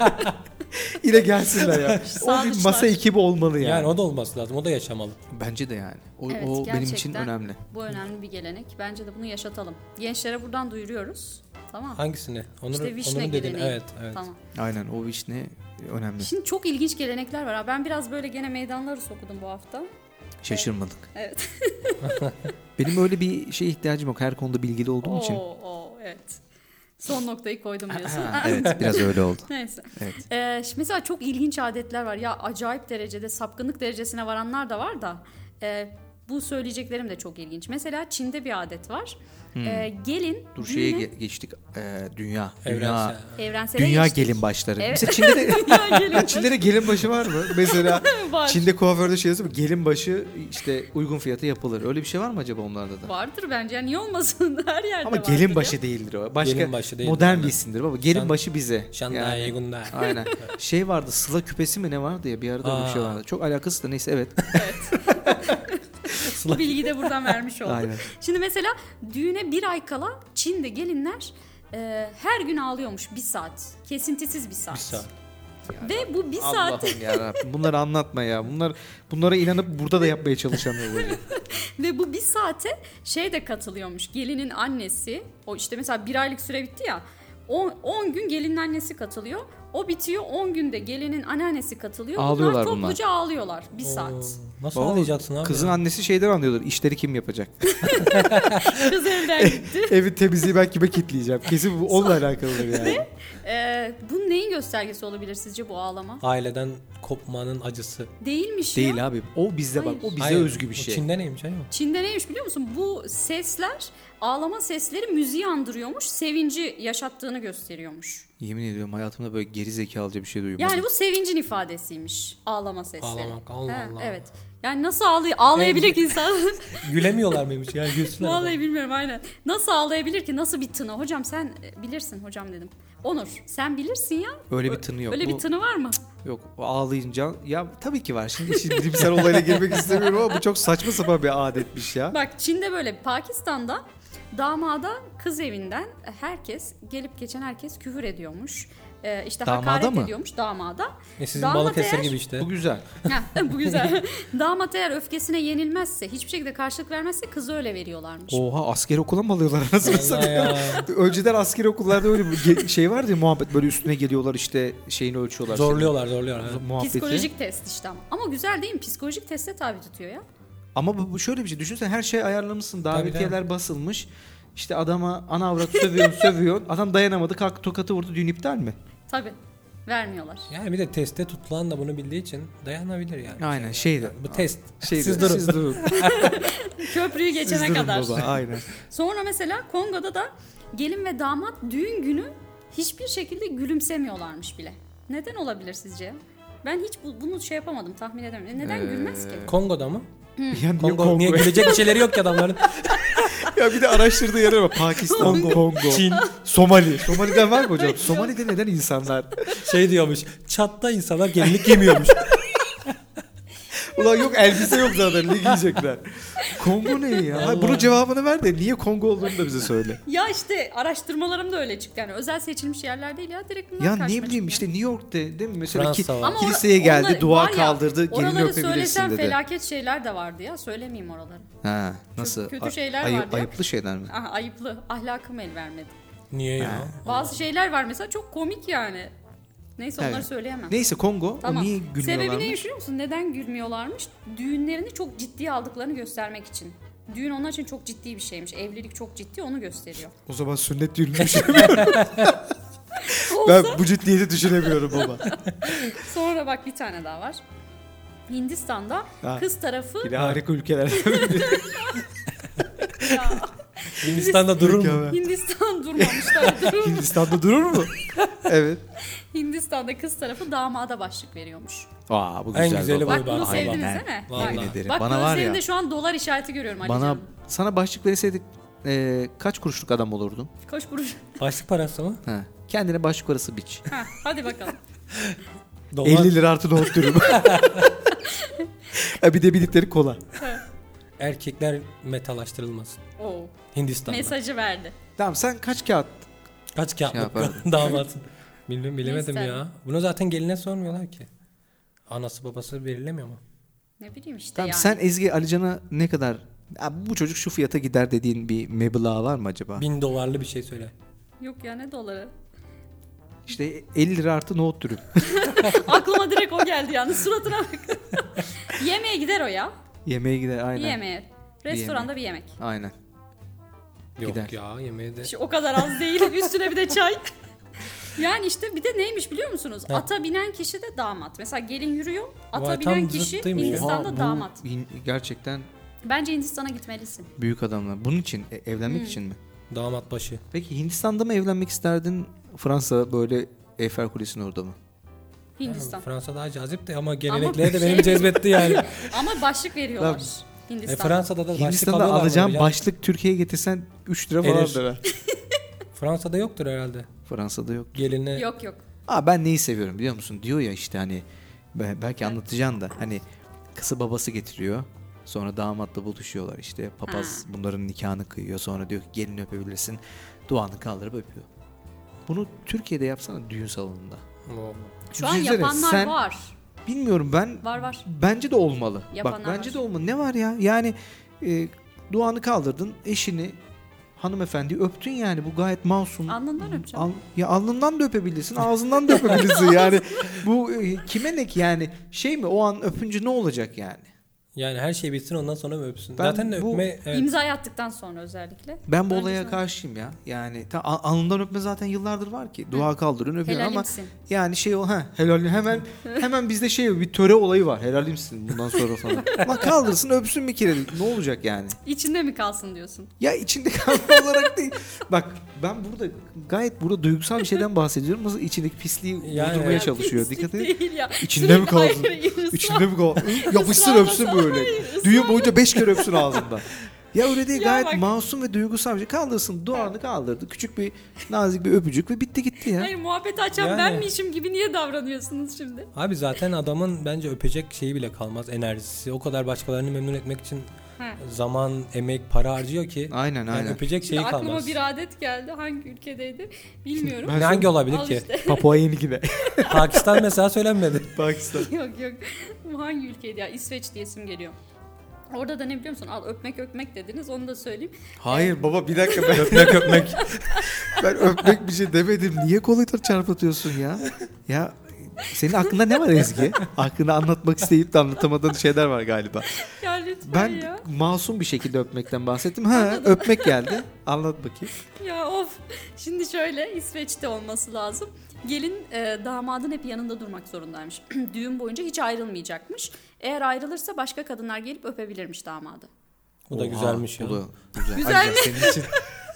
S2: yine gelsinler ya. o bir
S1: Sağlıçlar.
S2: masa ekibi olmalı yani.
S3: yani o da olması lazım. O da yaşamalı.
S2: Bence de yani. O,
S1: Evet,
S2: o benim için
S1: gerçekten.
S2: önemli.
S1: Bu önemli bir gelenek. Bence de bunu yaşatalım. Gençlere buradan duyuruyoruz. Tamam.
S3: Hangisini? Onur,
S1: işte vişne
S3: Onur'un dediğini.
S1: geleneği.
S3: Evet, evet.
S1: Tamam.
S2: Aynen o iş ne önemli.
S1: Şimdi çok ilginç gelenekler var. ha. Ben biraz böyle gene meydanları sokudum bu hafta.
S2: Şaşırmadık.
S1: Evet.
S2: Benim öyle bir şeye ihtiyacım yok. Her konuda bilgili olduğum
S1: Oo,
S2: için.
S1: oo, evet. Son noktayı koydum diyorsun.
S2: Ha, evet biraz öyle oldu.
S1: Neyse.
S2: Evet.
S1: Ee, şimdi mesela çok ilginç adetler var. Ya acayip derecede sapkınlık derecesine varanlar da var da. Ee, bu söyleyeceklerim de çok ilginç. Mesela Çin'de bir adet var.
S2: Hmm.
S1: Ee, gelin
S2: Dur
S1: düğüne-
S2: şeye ge- geçtik. Ee, dünya.
S3: Evrensel.
S2: Dünya.
S1: evrensele
S2: Dünya
S1: geçtik.
S2: gelin başları.
S1: Evet.
S2: Mesela Çin'de de
S1: Dünya gelin.
S2: Çinlere gelin başı var mı? Mesela
S1: Var.
S2: Çin'de kuaförde şey yazıyor mu? Gelin başı işte uygun fiyata yapılır. Öyle bir şey var mı acaba onlarda da?
S1: Vardır bence. Yani niye olmasın? Her yerde
S2: Ama
S1: vardır
S2: gelin
S1: ya.
S2: başı değildir o. Başka
S3: Gelin başı değildir,
S2: modern bir
S3: aynen.
S2: isimdir baba. Gelin
S3: Şan-
S2: başı bize.
S3: Şanday
S2: Yani.
S3: Gunday.
S2: Aynen. Şey vardı sıla küpesi mi ne vardı ya bir arada öyle bir şey
S3: Aa.
S2: vardı. Çok alakası da neyse evet.
S1: Bu bilgiyi de buradan vermiş olduk.
S2: Aynen.
S1: Şimdi mesela düğüne bir ay kala Çin'de gelinler e, her gün ağlıyormuş bir saat. Kesintisiz bir saat.
S3: Bir saat.
S1: Ve bu bir saat
S2: Allah'ım yarabbim bunları anlatma ya. Bunlar bunlara inanıp burada da yapmaya çalışamıyor böyle.
S1: Ve bu bir saate şey de katılıyormuş. Gelinin annesi. O işte mesela bir aylık süre bitti ya. 10 gün gelinin annesi katılıyor. O bitiyor 10 günde gelinin anneannesi katılıyor.
S2: Ağlıyorlar
S1: bunlar
S2: bunlar.
S1: topluca ağlıyorlar bir
S3: Oo,
S1: saat.
S3: Nasıl
S2: Baba,
S3: anlayacaksın abi?
S2: Kızın
S3: ya?
S2: annesi şeyden anlıyordur. İşleri kim yapacak?
S1: Kız evden gitti.
S2: Evin temizliği ben kime kitleyeceğim? Kesin bu onunla alakalıdır yani.
S1: Ee, bu neyin göstergesi olabilir sizce bu ağlama?
S3: Aileden kopmanın acısı.
S1: Değilmiş ya.
S2: Değil abi. O bizde bak. O bize
S3: Hayır,
S2: özgü bir
S3: o
S2: şey.
S3: Çin'de neymiş ayol?
S1: Çin'de neymiş biliyor musun? Bu sesler ağlama sesleri müziği andırıyormuş. Sevinci yaşattığını gösteriyormuş.
S2: Yemin ediyorum hayatımda böyle geri zekalıca bir şey duymadım.
S1: Yani bu sevincin ifadesiymiş. Ağlama sesleri.
S3: Ağlamak, Allah
S1: Ha,
S3: Allah.
S1: Evet. Yani nasıl ağlay ağlayabilir ki insan?
S3: Gülemiyorlar mıymış ya gülsünler.
S1: Vallahi bilmiyorum aynen. Nasıl ağlayabilir ki? Nasıl bir tını? Hocam sen e, bilirsin hocam dedim. Onur sen bilirsin ya.
S2: Öyle bir tını yok.
S1: Öyle
S2: Bu-
S1: bir tını var mı?
S2: Yok o ağlayınca ya tabii ki var. Şimdi işin bilimsel olayla girmek istemiyorum ama bu çok saçma sapan bir adetmiş ya.
S1: Bak Çin'de böyle Pakistan'da damada kız evinden herkes gelip geçen herkes küfür ediyormuş. Ee, işte
S2: Damada
S1: hakaret
S2: mı?
S1: ediyormuş damada.
S3: E sizin
S1: Damat
S3: balık
S1: eğer-
S3: eseri gibi işte.
S2: Bu güzel.
S1: Ha, bu güzel. Damat eğer öfkesine yenilmezse, hiçbir şekilde karşılık vermezse kızı öyle veriyorlarmış.
S2: Oha asker okula mı alıyorlar anasını
S3: Allah
S2: satayım?
S3: ya.
S2: Önceden asker okullarda öyle bir ge- şey vardı ya muhabbet böyle üstüne geliyorlar işte şeyini ölçüyorlar.
S3: Zorluyorlar zorluyorlar.
S2: Senin
S3: ha.
S2: Muhabbeti.
S1: Psikolojik test işte ama. Ama güzel değil mi? Psikolojik teste tabi tutuyor ya.
S2: Ama bu, bu şöyle bir şey. Düşünsen her şey ayarlamışsın.
S3: tabii.
S2: Davetiyeler basılmış. İşte adama ana avrat sövüyorsun sövüyorsun. Adam dayanamadı kalk tokatı vurdu düğün iptal mi?
S1: Tabi. Vermiyorlar.
S3: Yani bir de teste tutulan da bunu bildiği için dayanabilir yani.
S2: Aynen şeydi.
S3: Bu test.
S2: Şeydi,
S3: Siz durun.
S2: Şey Siz durun.
S1: Köprüyü geçene
S2: Siz durun
S1: kadar.
S2: baba aynen.
S1: Sonra mesela Kongo'da da gelin ve damat düğün günü hiçbir şekilde gülümsemiyorlarmış bile. Neden olabilir sizce? Ben hiç bu- bunu şey yapamadım, tahmin edemiyorum. Neden
S2: Ee,
S1: gülmez ki?
S3: Kongo'da mı?
S1: Hmm.
S2: Ya niye
S3: Kongo,
S2: Kongo?
S3: niye gülecek bir şeyleri yok ki adamların.
S2: ya bir de araştırdığı yere bak. Pakistan, Kongo,
S3: Çin
S2: Somali. Somali'den var mı hocam? Somali'de neden insanlar?
S3: şey diyormuş. Çat'ta insanlar gelinlik giymiyormuş.
S2: Ulan yok elbise yok zaten ne giyecekler? Kongo ne ya? Hayır, Bunun cevabını ver de niye Kongo olduğunu da bize söyle.
S1: Ya işte araştırmalarım da öyle çıktı. Yani özel seçilmiş yerler değil ya direkt bunlar
S2: Ya
S1: karşıma
S2: ne
S1: çıkıyor.
S2: bileyim işte New York'te değil mi? Mesela ki,
S3: Fransa var.
S1: Ama
S2: kiliseye
S1: ora-
S2: geldi,
S1: onlar-
S2: dua
S1: var ya,
S2: kaldı, gelini
S1: oraları
S2: öpebilirsin
S1: söylesem
S2: dedi.
S1: felaket şeyler de vardı ya. Söylemeyeyim oraları.
S2: Ha, nasıl?
S1: kötü
S2: A-
S1: şeyler
S2: ayıp-
S1: var diyor.
S2: Ayıplı şeyler mi?
S1: Aha, ayıplı. Ahlakım el vermedi.
S3: Niye ya?
S1: Bazı şeyler var mesela çok komik yani. Neyse onları
S2: Evet.
S1: söyleyemem.
S2: Neyse Kongo o
S1: Tamam.
S2: niye
S1: Sebebi ne
S2: gülmüyorlarmış?
S1: biliyor musun? Neden gülmüyorlarmış? Düğünlerini çok ciddiye aldıklarını göstermek için. Düğün onlar için çok ciddi bir şeymiş. Evlilik çok ciddi onu gösteriyor.
S2: O zaman sünnet düğününü düşünemiyorum.
S1: Olsa
S2: ben bu ciddiyeti düşünemiyorum baba.
S1: sonra bak bir tane daha var. Hindistan'da
S2: Ha.
S1: kız tarafı
S2: Yine harika ülkeler.
S1: Ya,
S3: Hindistan'da durur mu?
S1: Hindistan durmamışlar. Durun.
S2: Hindistan'da durur mu? evet.
S1: Hindistan'da kız tarafı damada başlık veriyormuş.
S2: Aa bu
S3: En
S2: güzel.
S3: güzeli
S2: baba.
S1: Bak bunu
S3: Vallahi.
S1: sevdiniz
S2: Ben-
S1: değil mi?
S3: Vallahi.
S1: Bak,
S2: ederim.
S1: bak
S2: Bana var ya.
S1: gözlerinde şu an dolar işareti görüyorum
S2: Bana
S1: Ali'cim.
S2: sana başlık verseydik e, kaç kuruşluk adam olurdun?
S1: Kaç kuruş?
S3: Başlık parası mı?
S2: Ha. Kendine başlık parası biç.
S1: Ha, hadi bakalım.
S3: Dolar.
S2: 50 lira artı nohut dürüm. Ha, E, bir de bildikleri kola.
S3: Erkekler metalaştırılmasın.
S1: Oo.
S3: Hindistan'da.
S1: Mesajı verdi.
S2: Tamam sen kaç kağıt?
S3: Kaç
S2: Şey
S3: kağıtlık
S2: yapardım.
S3: damat? Bilmiyorum bilemedim
S1: Neyse.
S3: ya. Bunu zaten geline sormuyorlar ki. Anası babası belirlemiyor mu?
S1: Ne bileyim işte
S2: Tamam
S1: yani.
S2: sen Ezgi Alican'a ne kadar "Ya bu çocuk şu fiyata gider dediğin bir meblağ var mı acaba?
S3: Bin dolarlı bir şey söyle.
S1: Yok ya ne doları?
S2: İşte 50 lira artı nohut dürüm.
S1: Aklıma direkt o geldi yani suratına bak. Yemeğe gider o ya.
S2: Yemeğe gider
S1: Bir
S2: aynen.
S1: yemeğe. Restoranda bir yemek.
S2: Aynen.
S3: Yok
S2: Gider.
S3: ya yemeğe de.
S1: İşte o kadar az değil. Üstüne bir de çay. Yani işte bir de neymiş biliyor musunuz?
S3: Ha.
S1: Ata binen kişi de damat. Mesela gelin yürüyor. Ata
S3: Vay, tam
S1: binen kişi
S3: zıttıymış ya.
S1: Hindistan'da
S2: Oha, bu
S1: damat.
S2: in- gerçekten
S1: Bence Hindistan'a gitmelisin.
S2: büyük adamlar. Bunun için e,
S1: Hmm.
S2: evlenmek için mi?
S3: Damat başı.
S2: Peki Hindistan'da mı evlenmek isterdin? Fransa böyle Eyfel Kulesi'nin orada mı?
S1: Hindistan.
S3: Fransa daha cazip de ama gelenekleri de
S1: şey-
S3: benim cezbetti yani.
S1: Ama başlık veriyorlar.
S3: e,
S1: Hindistan.
S3: Fransa'da da başlık
S2: Hindistan'da
S3: alıyorlar.
S2: alacağım
S3: böyle ya.
S2: başlık Türkiye'ye getirsen 3 lira
S3: Erir.
S2: falan ver.
S3: Fransa'da yoktur herhalde.
S2: Fransa'da yok.
S3: Geline
S1: Yok yok.
S2: Aa ben neyi seviyorum biliyor musun? Diyor ya işte hani be- belki anlatacaksın da hani kızı babası getiriyor. Sonra damatla buluşuyorlar işte. Papaz bunların nikahını kıyıyor. Sonra diyor ki gelin öpebilirsin. Duanı kaldırıp öpüyor. Bunu Türkiye'de yapsana düğün salonunda.
S3: Oo.
S1: Şu an
S2: Düşünsene,
S1: yapanlar
S2: şey sen-
S1: var.
S2: Bilmiyorum ben
S1: Var var.
S2: bence de olmalı.
S1: Yapanlar
S2: Bak bence
S1: var.
S2: de olmalı. Ne var ya? Yani e, duanı kaldırdın, eşini hanımefendi öptün yani bu gayet masum.
S1: Alnından öpeceğim.
S2: Al- ya alnından da öpebilirsin, ağzından da öpebilirsin yani. Bu e, kime ne ki yani? Şey mi o an öpünce ne olacak yani?
S3: Yani her şey bitsin ondan sonra mı öpsün?
S2: Ben
S3: Zaten
S2: bu-
S3: öpme evet.
S1: İmzayı attıktan sonra özellikle.
S2: Ben bu
S1: Bence
S2: olaya
S1: sana-
S2: karşıyım ya. Yani ta, a- alnından öpme zaten yıllardır var ki. Dua kaldırın öpüyorsun ama
S1: Helalimsin.
S2: yani şey o ha helal hemen hemen bizde şey bir töre olayı var. Helalimsin bundan sonra falan. Ulan kaldırsın öpsün bir kere ne olacak yani?
S1: İçinde mi kalsın diyorsun?
S2: Ya içinde kalma olarak değil. Bak ben burada gayet burada duygusal bir şeyden bahsediyorum. Nasıl içindeki pisliği
S3: Yani.
S2: vurdurmaya
S3: Ya
S2: çalışıyor.
S1: Pislik
S2: Dikkat edin.
S1: değil ya.
S2: İçinde
S1: Sürekli
S2: mi kalsın?
S1: hayır, ısrar-
S2: İçinde mi kal? Yapışsın
S1: Israrla
S2: öpsün
S1: sana-
S2: böyle. Düğün boyunca beş kere öpsün ağzında. Ya öyle değil
S1: Ya
S2: gayet
S1: bak.
S2: masum ve duygusal bir şey. Kaldırsın duanı kaldırdı. Küçük bir nazik bir öpücük ve bitti gitti ya.
S1: Hayır muhabbeti açan
S3: Yani.
S1: ben miymişim gibi niye davranıyorsunuz şimdi?
S3: Abi zaten adamın bence öpecek şeyi bile kalmaz enerjisi. O kadar başkalarını memnun etmek için
S1: Ha.
S3: zaman, emek, para harcıyor ki.
S2: Aynen
S3: Yani
S2: aynen.
S3: öpecek şeyi
S1: Şimdi aklıma
S3: Şey kalmaz.
S1: bir adet geldi. Hangi ülkedeydi bilmiyorum.
S2: Ben-
S3: Ne hangi olabilir
S1: Al
S3: ki?
S1: işte.
S2: Papua Yeni Gine.
S3: Pakistan mesela söylenmedi.
S2: Pakistan.
S1: yok yok. Bu hangi ülkeydi ya? İsveç diyesim geliyor. Orada da ne biliyor musun? Al öpmek öpmek dediniz onu da söyleyeyim.
S2: Hayır baba bir dakika ben,
S3: öpmek öpmek.
S2: ben öpmek bir şey demedim. Niye kolayı çarpıtıyorsun ya? Ya senin aklında ne var Ezgi? Aklında anlatmak isteyip de anlatamadığın şeyler var galiba.
S1: Ya lütfen
S2: Ben
S1: ya.
S2: masum bir şekilde öpmekten bahsettim. Ha öpmek geldi. Anlat bakayım.
S1: Ya of. Şimdi şöyle İsveç'te olması lazım. Gelin e, damadın hep yanında durmak zorundaymış. Düğün boyunca hiç ayrılmayacakmış. Eğer ayrılırsa başka kadınlar gelip öpebilirmiş damadı.
S3: Bu da
S2: Oha,
S3: güzelmiş ya.
S2: Bu da güzel.
S1: Güzel
S2: Ayrıca senin için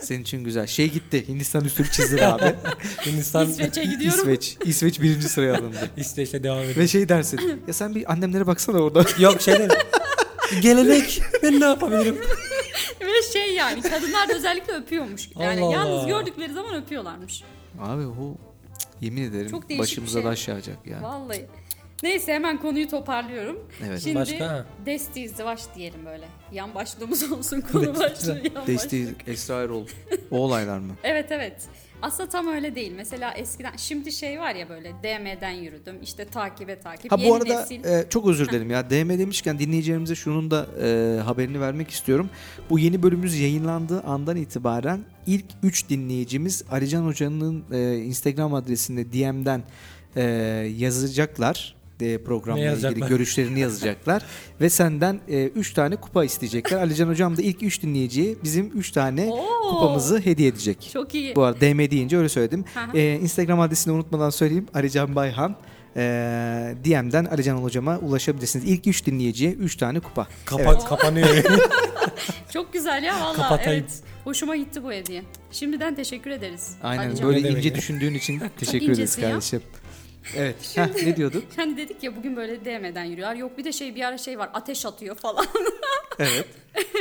S2: senin için güzel. Şey gitti. Hindistan üstünü çizdi abi.
S3: Hindistan
S1: İsveç'e gidiyorum.
S2: İsveç. İsveç birinci sıraya alındı.
S3: İsveç'le devam ediyor.
S2: Ve şey dersin. Ya sen bir annemlere baksana orada.
S3: Yok şey değil. Gelenek. Ben ne yapabilirim?
S1: Ve şey yani kadınlar da özellikle öpüyormuş. Yani
S3: Allah Allah.
S1: yalnız gördükleri zaman öpüyorlarmış.
S2: Abi o cık, yemin ederim
S1: Çok değişik
S2: başımıza
S1: bir şey.
S2: taş yağacak yani.
S1: Vallahi. Neyse hemen konuyu toparlıyorum.
S2: Evet.
S1: Şimdi
S3: Başka, ha.
S1: desti izdivaç diyelim böyle. Yan başlığımız olsun konu başlığı yan başlığı.
S2: Desti Esra Erol. O olaylar mı?
S1: Evet evet. Aslında tam öyle değil. Mesela eskiden şimdi şey var ya böyle DM'den yürüdüm. işte takibe takip.
S2: Ha
S1: Yeni
S2: bu arada
S1: nesil.
S2: e, çok özür dilerim ya DM demişken dinleyicilerimize şunun da e, haberini vermek istiyorum. Bu yeni bölümümüz yayınlandığı andan itibaren ilk 3 dinleyicimiz Alican Hoca'nın e, Instagram adresinde DM'den e, yazacaklar e, programla
S3: Ne yazacaklar?
S2: ilgili görüşlerini yazacaklar ve senden 3 tane kupa isteyecekler. Alican Hocam da ilk 3 dinleyiciye bizim 3 tane
S1: Oo.
S2: kupamızı hediye edecek.
S1: Çok iyi.
S2: Bu arada DM deyince öyle söyledim.
S1: Hı hı.
S2: Ee, Instagram adresini unutmadan söyleyeyim. Alican Bayhan. Ee, DM'den Alican Hocam'a ulaşabilirsiniz. İlk 3 dinleyiciye 3 tane kupa.
S3: Kapat, Kapanıyor.
S1: Çok güzel ya valla.
S3: Kapatayım.
S1: Evet. Hoşuma gitti bu hediye. Şimdiden teşekkür ederiz.
S2: Aynen
S1: Alican.
S2: böyle
S3: Ne demek
S2: ince
S3: ya?
S2: düşündüğün için teşekkür ederiz
S1: incesin ya.
S2: kardeşim. Evet. Heh, ne diyorduk?
S1: Hani dedik ya bugün böyle DM'den yürüyorlar. Yok bir de şey bir ara şey var ateş atıyor falan.
S2: Evet.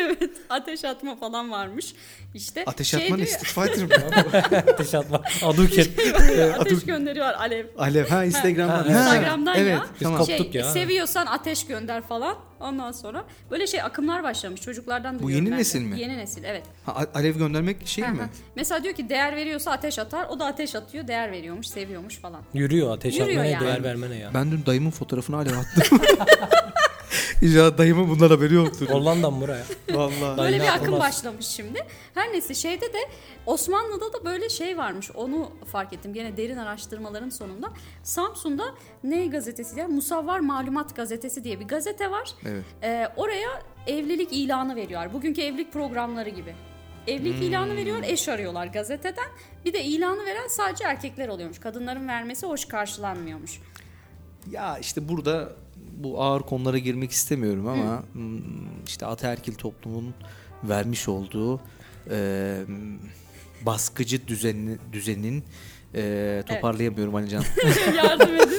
S1: evet ateş atma falan varmış. İşte
S2: Ateş
S1: şey
S2: atman
S1: diyor-
S2: Street Fighter mı?
S3: Ateş atma. Aduket.
S1: ateş gönderiyor alev.
S2: Alev ha Instagram'dan.
S3: Ha,
S2: Ha,
S1: Instagram'dan
S2: evet,
S1: ya.
S3: Biz
S2: Tamam.
S3: kop- Koptuk
S1: şey,
S3: ya.
S1: Seviyorsan ateş gönder falan. Ondan sonra böyle şey akımlar başlamış çocuklardan
S2: Bu
S1: duyuyorum
S2: yeni
S1: ben de.
S2: nesil mi?
S1: Yeni nesil evet.
S2: Ha, a- alev göndermek şey mi?
S1: Mesela diyor ki değer veriyorsa ateş atar. O da ateş atıyor. Değer veriyormuş, seviyormuş falan.
S3: Yürüyor ateş
S1: Yürüyor
S3: atmaya,
S1: yani.
S3: değer vermene ya.
S2: Ben dün dayımın fotoğrafını alev attım. İnşallah dayımın bundan haberi yoktur.
S3: Hollanda'm buraya.
S2: Vallahi.
S1: Böyle bir
S3: Dayak
S1: akım
S3: olmaz.
S1: başlamış şimdi. Her neyse şeyde de Osmanlı'da da böyle şey varmış. Onu fark ettim gene derin araştırmaların sonunda. Samsun'da ne gazetesi diye Musavvar Malumat Gazetesi diye bir gazete var.
S2: Evet.
S1: Ee, oraya evlilik ilanı veriyor. Bugünkü evlilik programları gibi. Evlilik
S2: Hmm.
S1: ilanı veriyor, eş arıyorlar gazeteden. Bir de ilanı veren sadece erkekler oluyormuş. Kadınların vermesi hoş karşılanmıyormuş.
S2: Ya işte burada bu ağır konulara girmek istemiyorum ama hmm, işte ataerkil toplumun vermiş olduğu e, baskıcı düzenin, düzenin e, toparlayamıyorum Ali Can.
S1: Yardım edin. evet.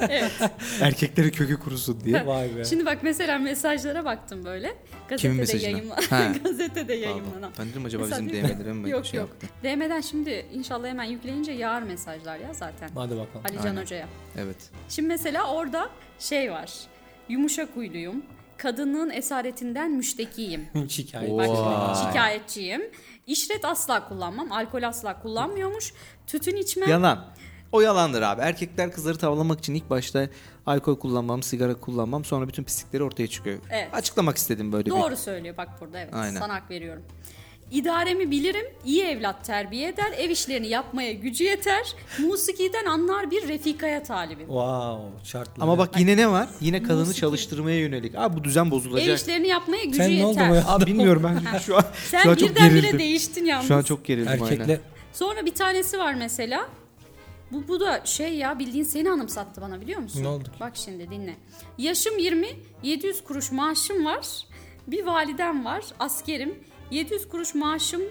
S2: Erkeklerin kökü kurusun diye.
S3: Vay be.
S1: Şimdi bak mesela mesajlara baktım böyle.
S2: Kimin
S1: Gazetede
S2: mesajına?
S1: yayınlanan.
S2: Ha.
S1: gazetede
S2: Pardon.
S1: yayınlanan.
S2: Ben dedim acaba
S1: Mesela
S2: bizim
S1: diyor-
S2: DM'lere mi
S1: Yok
S2: şey
S1: yok.
S2: yaptı?
S1: DM'den şimdi inşallah hemen yükleyince yağar mesajlar ya zaten.
S3: Hadi bakalım.
S1: Ali Can
S2: Aynen.
S1: Hoca'ya.
S2: Evet.
S1: Şimdi mesela orada şey var. Yumuşak huyluyum. Kadının esaretinden müştekiyim.
S3: Şikayet.
S1: Bak
S2: Vay.
S1: şikayetçiyim. İşret asla kullanmam. Alkol asla kullanmıyormuş. Tütün içmem.
S2: Yalan. O yalandır abi. Erkekler kızları tavlamak için ilk başta alkol kullanmam, sigara kullanmam sonra bütün pislikleri ortaya çıkıyor.
S1: Evet.
S2: Açıklamak istedim böyle bir.
S1: Doğru söylüyor bak burada evet.
S2: Aynen.
S1: Sana hak veriyorum. İdaremi bilirim, iyi evlat terbiye eder, ev işlerini yapmaya gücü yeter, musikiden anlar bir refikaya talibim.
S3: Wow şartlı.
S2: Ama bak yine ne var? Yine kadını çalıştırmaya yönelik. Abi bu düzen bozulacak.
S1: Ev işlerini yapmaya gücü
S3: Sen ne oldu
S1: yeter.
S3: bu ya?
S2: Abi bilmiyorum ben şu an şu
S1: Sen
S2: an çok
S1: birdenbire
S2: gerildim.
S1: değiştin yalnız.
S2: Şu an çok gerildim aynen.
S3: erkekle
S1: Sonra bir tanesi var mesela. Bu, bu da şey ya bildiğin seni anımsattı bana biliyor musun?
S3: Ne oldu ki?
S1: Bak şimdi dinle. Yaşım 20, 700 kuruş maaşım var. Bir validem var, askerim. 700 kuruş maaşım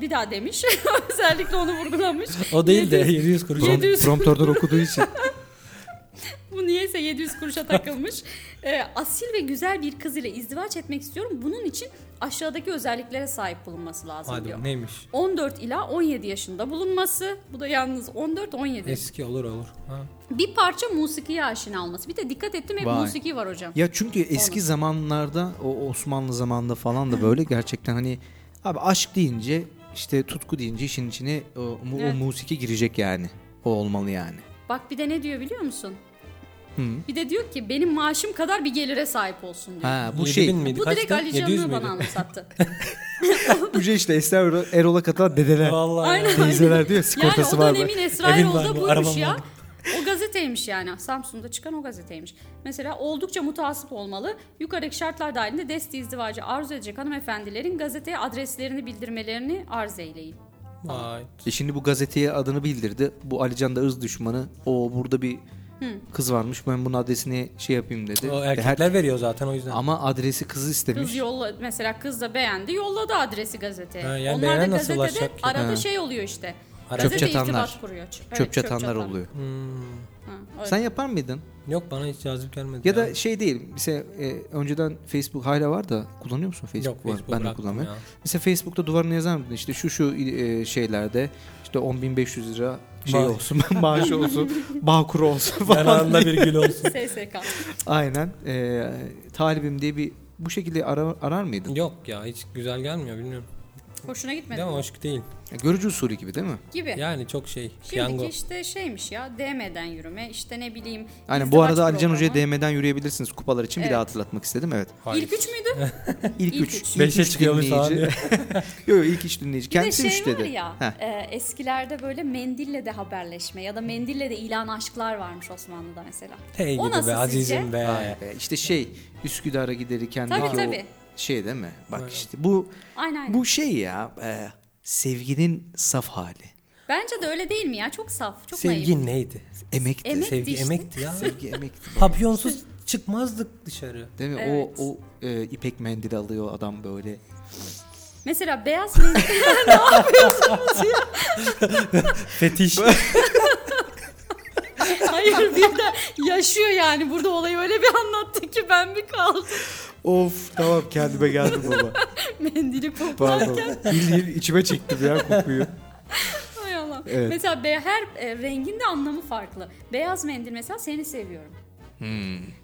S1: bir daha demiş. Özellikle onu vurgulamış.
S3: o değil de
S1: 700
S3: 700 kuruş.
S1: Yedi- Düz.
S2: Promptörden okuduğu için.
S1: Bu niyeyse 700 kuruşa takılmış. Ee, asil ve güzel bir kız ile izdivaç etmek istiyorum. Bunun için aşağıdaki özelliklere sahip bulunması lazım diyor.
S3: Hadi neymiş?
S1: 14 ila 17 yaşında bulunması. Bu da yalnız 14-17.
S3: Eski olur olur. Ha.
S1: Bir parça musikiye aşina olması. Bir de dikkat ettim hep
S2: Vay.
S1: musiki var hocam.
S2: Ya çünkü eski zamanlarda o Osmanlı zamanında falan da böyle gerçekten hani abi aşk deyince işte tutku deyince işin içine o, mu- o
S1: Evet.
S2: musiki girecek yani. O olmalı yani.
S1: Bak bir de ne diyor biliyor musun?
S2: Hı.
S1: Bir de diyor ki benim maaşım kadar bir gelire sahip olsun diyor.
S2: Ha bu
S3: 7000
S2: şey
S3: miydi?
S1: Bu direkt
S3: Kaçtı?
S1: Ali
S3: 700
S1: Can'ı
S3: müydü?
S1: bana anımsattı.
S2: bu şey işte Esra Erol- Erol'a katılan dedeler.
S3: Vallahi.
S1: Aynen.
S2: Teyzeler
S1: Yani
S2: diyor sigortası
S1: o
S2: var mı?
S1: dönemin Esrairoğlu'da
S3: Evin var mı?
S1: buymuş
S3: Araban
S1: ya.
S3: var mı?
S1: O gazeteymiş yani. Samsun'da çıkan o gazeteymiş. Mesela oldukça mutasip olmalı. Yukarıdaki şartlar dahilinde desti izdivacı arzu edecek hanımefendilerin gazeteye adreslerini bildirmelerini arz eyleyin.
S3: Vay.
S2: E şimdi bu gazeteye adını bildirdi. Bu Alican da ırz düşmanı. O burada bir kız varmış. Ben bunun adresini şey yapayım dedi.
S3: O
S2: E her-
S3: erkekler veriyor zaten o yüzden.
S2: Ama adresi kızı istemiş.
S1: Kız yolla mesela kız da beğendi yolladı adresi gazeteye.
S3: Ha, yani
S1: Onlar da
S3: beğenen nasıl
S1: gazetede
S3: ulaşacak ki?
S1: arada
S2: Ha.
S1: şey oluyor işte.
S3: Ara-
S1: Gazete
S2: Çöp çatanlar.
S1: irtibat kuruyor. Ç- evet,
S2: çöp çatanlar
S1: çatan.
S2: oluyor.
S3: Hmm.
S1: Ha, öyle.
S2: Sen yapar mıydın?
S3: Yok bana hiç cazip gelmedi.
S2: Ya da şey değil. Mesela e, önceden Facebook hala var da kullanıyor musun Facebook?
S3: Yok,
S2: var.
S3: Facebook
S2: ben de
S3: bıraktım
S2: kullanmıyorum.
S3: ya.
S2: Mesela Facebook'ta duvarına yazar mıydın? İşte şu şu e, şeylerde işte 10.500 lira şey
S3: Maaş.
S2: olsun, maaş olsun, bağkur olsun falan.
S3: Yanağında bir gül olsun.
S1: SSK.
S2: Aynen. E, talibim diye bir bu şekilde ara- arar mıydın?
S3: Yok ya hiç güzel gelmiyor bilmiyorum.
S1: Hoşuna gitmedi
S3: Değil mi?
S1: mi?
S3: Hoş değil.
S2: Ya, Görücü usulü gibi değil mi?
S1: Gibi.
S3: Yani çok şey.
S1: Şimdiki
S3: Piyango.
S1: işte şeymiş ya DM'den yürüme işte ne bileyim.
S2: Aynen bu
S1: izdivaç
S2: arada Ali Can
S1: programı.
S2: Hoca'ya DM'den yürüyebilirsiniz kupalar için bir
S1: Evet.
S2: daha hatırlatmak istedim evet.
S3: Hayır.
S1: İlk üç müydü?
S2: İlk,
S1: İlk
S2: üç.
S1: üç.
S2: ilk
S3: Beşe
S2: üç
S3: çıkıyormuş abi.
S2: dinleyici. Yok yok ilk üç dinleyici.
S1: Bir de
S2: Kendisi
S1: şey
S2: üç
S1: var
S2: dedi.
S1: ya
S2: Heh.
S1: e, eskilerde böyle mendille de haberleşme ya da mendille de ilan aşklar varmış Osmanlı'da mesela.
S3: Hey
S1: O
S3: gidi
S1: nasıl
S3: be
S1: sizce?
S3: azizim be.
S2: Vay be. İşte şey Üsküdar'a gideri kendiki
S1: Tabii,
S2: o
S1: tabii.
S2: şey değil mi? Bak
S3: Aynen.
S2: işte bu
S1: Aynen aynen.
S2: bu şey ya e, sevginin saf hali.
S1: Bence de öyle değil mi ya çok saf çok naif.
S3: Sevgi neydi?
S2: Emekti.
S1: Emek-
S3: Sevgi
S1: işte.
S3: emekti ya.
S2: Sevgi emekti.
S3: Papyonsuz çıkmazdık dışarı.
S2: Değil mi?
S1: Evet.
S2: O o e, ipek mendili alıyor adam böyle.
S1: Mesela beyaz mendil
S3: Fetiş.
S1: hayır bir de yaşıyor yani burada olayı öyle bir anlattı ki ben bir kaldım
S2: Of tamam kendime geldim baba.
S1: mendili koklarken.
S2: Pardon. Bildiğin içime çektim ya kokuyu.
S1: Hay Allah.
S2: Evet.
S1: Mesela be- her e, rengin de anlamı farklı. Beyaz mendil mesela seni seviyorum.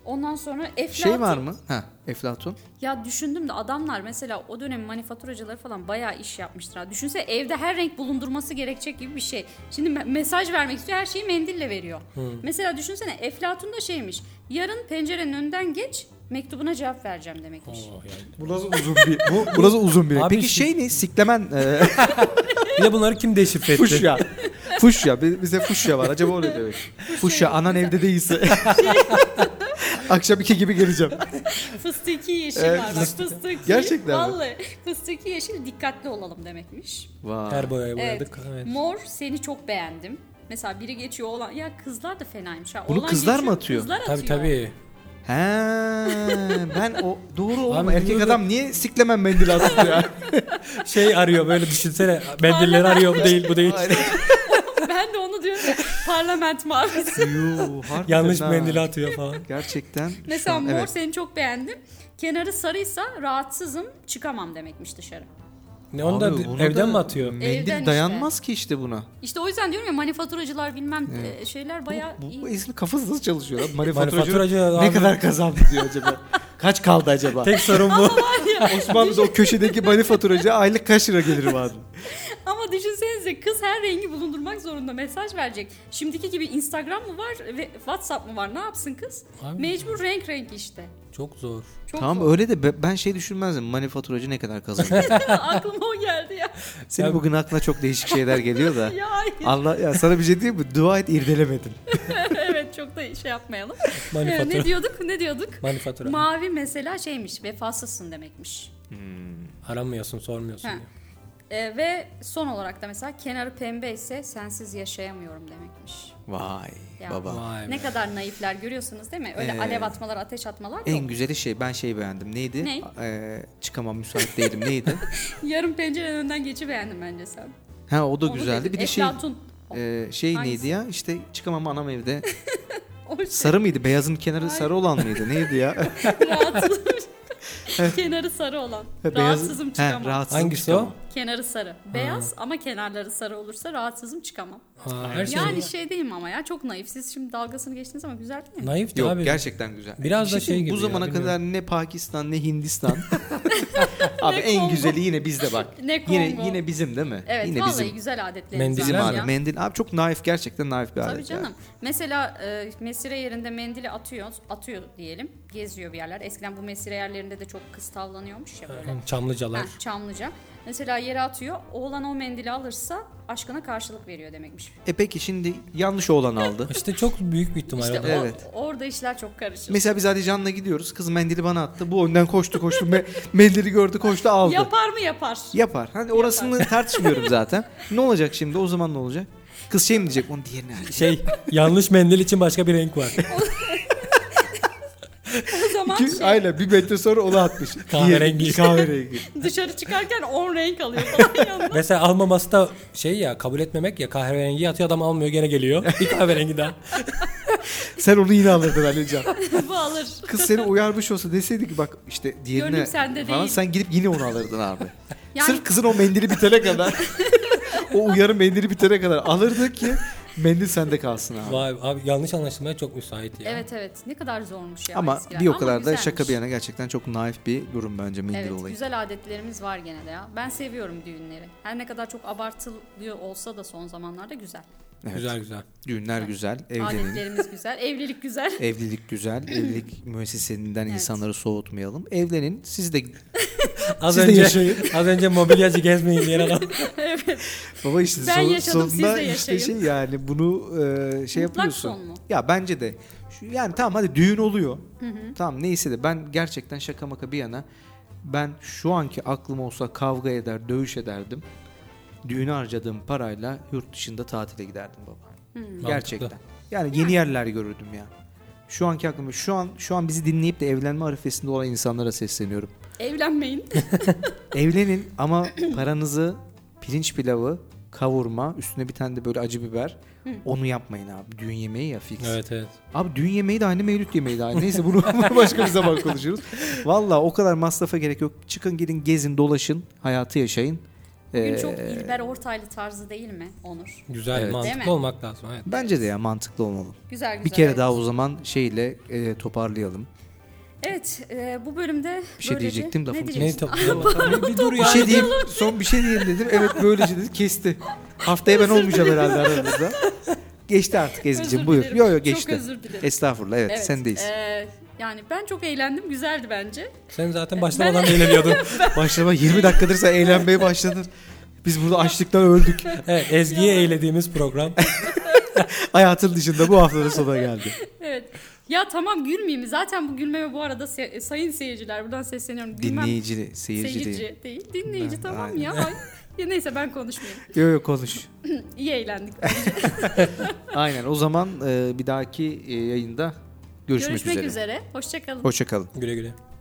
S1: Ondan sonra Eflatun.
S2: Hmm. Şey var mı? Ha, Eflatun.
S1: Ya düşündüm de adamlar mesela o dönem manifaturacıları falan bayağı iş yapmıştır. ha. Düşünse evde her renk bulundurması gerekecek gibi bir şey. Şimdi me- mesaj vermek istiyor
S2: Hmm.
S1: her şeyi mendille veriyor. Mesela düşünsene Eflatun da şeymiş. Yarın pencerenin önünden geç mektubuna cevap vereceğim demekmiş.
S3: Oh, yani.
S2: Bu nasıl uzun bir bu, bu nasıl uzun bir.
S3: Abi
S2: Peki
S3: şimdi-
S2: şey ne? Siklemen e,
S3: Bir de bunları kim deşifre etti?
S2: fuşya. fuşya. Bi- Bize fuşya var. Acaba o ne demek? Fuşya. Anan evde değilse. Akşam iki gibi geleceğim.
S1: Fıstıki yeşil
S2: Evet,
S1: var bak fıstıki.
S2: Gerçekten mi?
S1: Vallahi fıstıki yeşil dikkatli olalım demekmiş.
S2: Vay.
S3: Her boyaya boyadık. Evet.
S1: Mor seni çok beğendim. Mesela biri geçiyor olan ya kızlar da fenaymış ha.
S2: Bunu
S1: Oğlan
S2: kızlar
S1: geçiyor,
S2: mı atıyor?
S1: Kızlar atıyor.
S3: Tabii tabii.
S2: He, ben o doğru oğlum.
S3: Abi
S2: Erkek
S3: bunu da-
S2: adam niye siklemen mendil attı ya?
S3: Şey arıyor böyle düşünsene. Mendilleri arıyor bu değil bu değil.
S1: Ben de onu diyorum. ya, Parlament mavisi.
S2: Yuh, harbiden
S3: Yanlış
S2: ha.
S3: mendili atıyor falan.
S2: Gerçekten. şu
S1: Mesela
S2: an-
S1: mor
S2: evet.
S1: seni çok beğendim. Kenarı sarıysa rahatsızım çıkamam demekmiş dışarı.
S3: Ne onu
S2: Abi
S3: da
S2: bunu
S3: evden mi atıyor?
S2: Mendil
S1: Evden işte.
S2: dayanmaz ki işte buna.
S1: İşte o yüzden diyorum ya manifaturacılar bilmem e, şeyler bayağı
S2: Bu, bu
S1: iyi.
S2: esin kafası nasıl çalışıyor lan?
S3: Manifaturacı
S2: Manifaturacı ne
S3: abi.
S2: kadar kazandı diyor acaba? Kaç kaldı acaba?
S3: Tek sorun bu.
S2: Osmanlı'da o köşedeki manifaturacı aylık kaç lira gelir vardı?
S1: Ama düşünsenize kız her rengi bulundurmak zorunda mesaj verecek. Şimdiki gibi Instagram mı var ve WhatsApp mı var ne yapsın kız?
S3: Abi.
S1: Mecbur renk renk işte.
S3: Çok zor.
S1: Çok
S2: tamam
S1: zor.
S2: öyle de be- ben şey düşünmezdim. Manifaturacı ne kadar kazanıyor?
S1: aklıma o geldi ya.
S2: Senin
S3: Ya-
S2: bugün aklına çok değişik şeyler geliyor da.
S1: Ya hayır.
S2: Allah ya sana bir şey diyeyim mi? Dua et irdelemedim.
S1: evet çok da şey yapmayalım. Ee,
S3: Manifatura.
S1: ne diyorduk ne diyorduk?
S3: Manifatura.
S1: Mavi mesela şeymiş vefasızsın demekmiş.
S2: Hmm,
S3: Aramıyorsun, sormuyorsun.
S1: Ha.
S3: diyor.
S1: Ee, ve son olarak da mesela kenarı pembe ise sensiz yaşayamıyorum demekmiş.
S2: Vay
S1: Ya.
S2: baba.
S3: Vay
S1: ne
S3: be.
S1: kadar naifler görüyorsunuz değil mi? Öyle
S2: Ee,
S1: alev atmalar, ateş atmalar
S2: En
S1: yok.
S2: güzeli şey ben şeyi beğendim. Neydi?
S1: Ne?
S2: Ee, çıkamam müsait değilim. Neydi?
S1: Yarım pencerenin önünden geçi beğendim bence sen.
S2: Ha o da
S1: Onu
S2: güzeldi.
S1: dedin.
S2: Bir de şey
S1: Eflatun.
S2: e, şey
S1: Hangisi?
S2: neydi ya? İşte çıkamam anam evde.
S1: O şey
S2: Sarı mıydı? Beyazın kenarı sarı olan mıydı? Neydi ya?
S1: rahatsız. kenarı sarı olan. Rahatsızım çıkamam.
S2: He, rahatsızım
S3: Hangisi
S2: çıkamam.
S3: o?
S1: Kenarı sarı. Beyaz ama kenarları sarı olursa rahatsızım çıkamam.
S3: Aa, her şey.
S1: Yani şey değilim ama ya çok naif. Siz şimdi dalgasını geçtiniz ama güzel değil mi?
S3: Naif
S2: Yok
S3: abi.
S2: gerçekten güzel.
S3: Biraz da şey
S2: diyeyim,
S3: gibi
S2: Bu
S3: ya,
S2: zamana
S3: bilmiyorum.
S2: kadar ne Pakistan ne Hindistan. Abi en
S1: Kongo.
S2: güzeli yine bizde bak.
S1: Ne
S2: Yine
S1: Kongo.
S2: yine bizim değil mi?
S1: Evet
S2: yine
S1: vallahi
S2: bizim.
S1: güzel adetlerimiz
S3: Mendil
S2: Bizim
S1: var
S2: abi
S1: ya.
S2: mendil. Abi çok naif gerçekten naif bir alet.
S1: Tabii
S2: ya.
S1: canım. Mesela e, mesire yerinde mendili atıyor, atıyor diyelim. Geziyor bir yerler. Eskiden bu mesire yerlerinde de çok kız tavlanıyormuş ya böyle.
S3: Hı, Çamlıcalar.
S1: Heh, Çamlıca. Mesela yere atıyor. Oğlan o mendili alırsa aşkına karşılık veriyor demekmiş.
S2: E peki şimdi yanlış oğlan aldı.
S3: İşte çok büyük bir ihtimal.
S1: İşte
S3: o da.
S1: o-
S2: Evet.
S1: orada işler çok karışır.
S2: Mesela biz hadi Can'la gidiyoruz. Kız mendili bana attı. Bu önden koştu koştu. Me- mendili gördü koştu aldı.
S1: Yapar mı yapar?
S2: Yapar. Hani orasını tartışmıyorum zaten. Ne olacak şimdi? O zaman ne olacak? Kız şey mi diyecek? Onun diğerini al.
S3: Şey yanlış mendil için başka bir renk var.
S1: O zaman şey,
S2: Aynen bir metre sonra onu atmış.
S3: Kahverengi.
S2: Diğeri- Kahverengi.
S1: şey, dışarı çıkarken 10 renk alıyor falan yanına.
S3: Mesela almaması da şey ya kabul etmemek ya kahverengi atıyor adam almıyor gene geliyor. Bir kahverengi daha.
S2: Sen onu yine alırdın Alican.
S1: Bu alır.
S2: Kız seni uyarmış olsa deseydi ki bak işte diğerine
S1: Gönlüm sende
S2: falan
S1: değil.
S2: sen gidip yine onu alırdın abi.
S1: Yani-
S2: Sırf kızın o mendili bitene kadar o uyarı mendili bitene kadar alırdı ki mendil sende kalsın abi.
S3: Vay abi yanlış anlaşılmaya çok müsait ya.
S1: Evet evet ne kadar zormuş ya.
S2: Ama
S1: eskiden.
S2: bir o kadar da
S1: güzelmiş.
S2: şaka bir yana gerçekten çok naif bir durum bence mendil
S1: Evet
S2: olayı.
S1: güzel adetlerimiz var gene de ya. Ben seviyorum düğünleri. Her ne kadar çok abartılıyor olsa da son zamanlarda güzel.
S2: Evet.
S3: Güzel güzel.
S2: Düğünler güzel, evlenin.
S1: Adetlerimiz güzel, evlilik güzel.
S2: Evlilik güzel, evlilik müessesesinden insanları soğutmayalım. Evlenin, siz de
S3: Az
S2: Siz de
S3: önce
S2: yaşayın.
S3: az önce mobilyacı gezmeyin diyen adam.
S2: Baba işte
S1: Ben
S2: son-
S1: yaşadım, siz de
S2: sonunda işte
S1: yaşayın.
S2: şey yani bunu e, şey yapıyorsun.
S1: son mu?
S2: Ya bence de. Şu, yani tamam hadi düğün oluyor. Tamam neyse de ben gerçekten şaka maka bir yana ben şu anki aklım olsa kavga eder, dövüş ederdim. Düğüne harcadığım parayla yurt dışında tatile giderdim
S1: Hmm.
S2: baba. Gerçekten.
S3: Mantıklı.
S2: Yani yeni yerler görürdüm ya. Şu anki aklım şu an şu an bizi dinleyip de evlenme arifesinde olan insanlara sesleniyorum.
S1: Evlenmeyin.
S2: Evlenin ama paranızı pirinç pilavı, kavurma, üstüne bir tane de böyle acı biber. Onu yapmayın abi. Düğün yemeği ya fix.
S3: evet evet.
S2: Abi düğün yemeği de aynı, mevlüt yemeği de aynı. Neyse bunu bunu başka bir zaman konuşuruz. Valla o kadar masrafa gerek yok. Çıkın gidin gezin dolaşın. Hayatı yaşayın.
S1: Bugün
S2: Ee,
S1: çok İlber Ortaylı tarzı değil mi Onur?
S2: Evet.
S3: Güzel
S1: Değil mi?
S3: mantıklı olmak lazım. Evet.
S2: Bence de ya mantıklı olmalı.
S1: Güzel güzel.
S2: Bir kere
S1: evet.
S2: daha o zaman şeyle e, toparlayalım.
S1: Evet e, bu bölümde
S2: Bir şey
S1: böylece-
S2: diyecektim, lafını
S1: Ne
S3: Ne
S1: diyeceksin?
S3: top- bir, bir dur
S2: Bir
S3: ya.
S2: şey diyeyim, son bir şey diyeyim dedim. Evet böylece dedi kesti. Haftaya ben olmayacağım herhalde aranızda. Geçti artık Ezgi'cim
S1: Özür
S2: buyur.
S1: dilerim.
S2: Yok yok
S1: Çok
S2: geçti.
S1: özür dilerim.
S2: Estağfurullah evet,
S1: Evet,
S2: sendeyiz.
S1: e, Yani ben çok eğlendim. Güzeldi bence.
S3: Sen zaten başlamadan eğleniyordun.
S2: Başlama 20 dakikadır sen eğlenmeye başladın. Biz burada açlıktan öldük.
S3: Evet, Ezgi'ye eğlediğimiz program.
S2: Hayatın dışında bu haftanın sonuna geldi.
S1: Evet. Ya tamam gülmeyeyim. Zaten bu gülmeme bu arada se- sayın seyirciler buradan sesleniyorum. Gülmem
S2: Dinleyici, seyirci,
S1: seyirci
S2: değil.
S1: değil. Dinleyici
S2: Ben-
S1: tamam
S2: aynen.
S1: ya. Ay. ya. Neyse ben konuşmayayım.
S2: Yok yok konuş.
S1: İyi eğlendik.
S2: Aynen o zaman e, bir dahaki e, yayında görüşmek,
S1: Görüşmek üzere.
S2: üzere.
S1: Hoşçakalın.
S2: Hoşçakalın.
S3: Güle güle.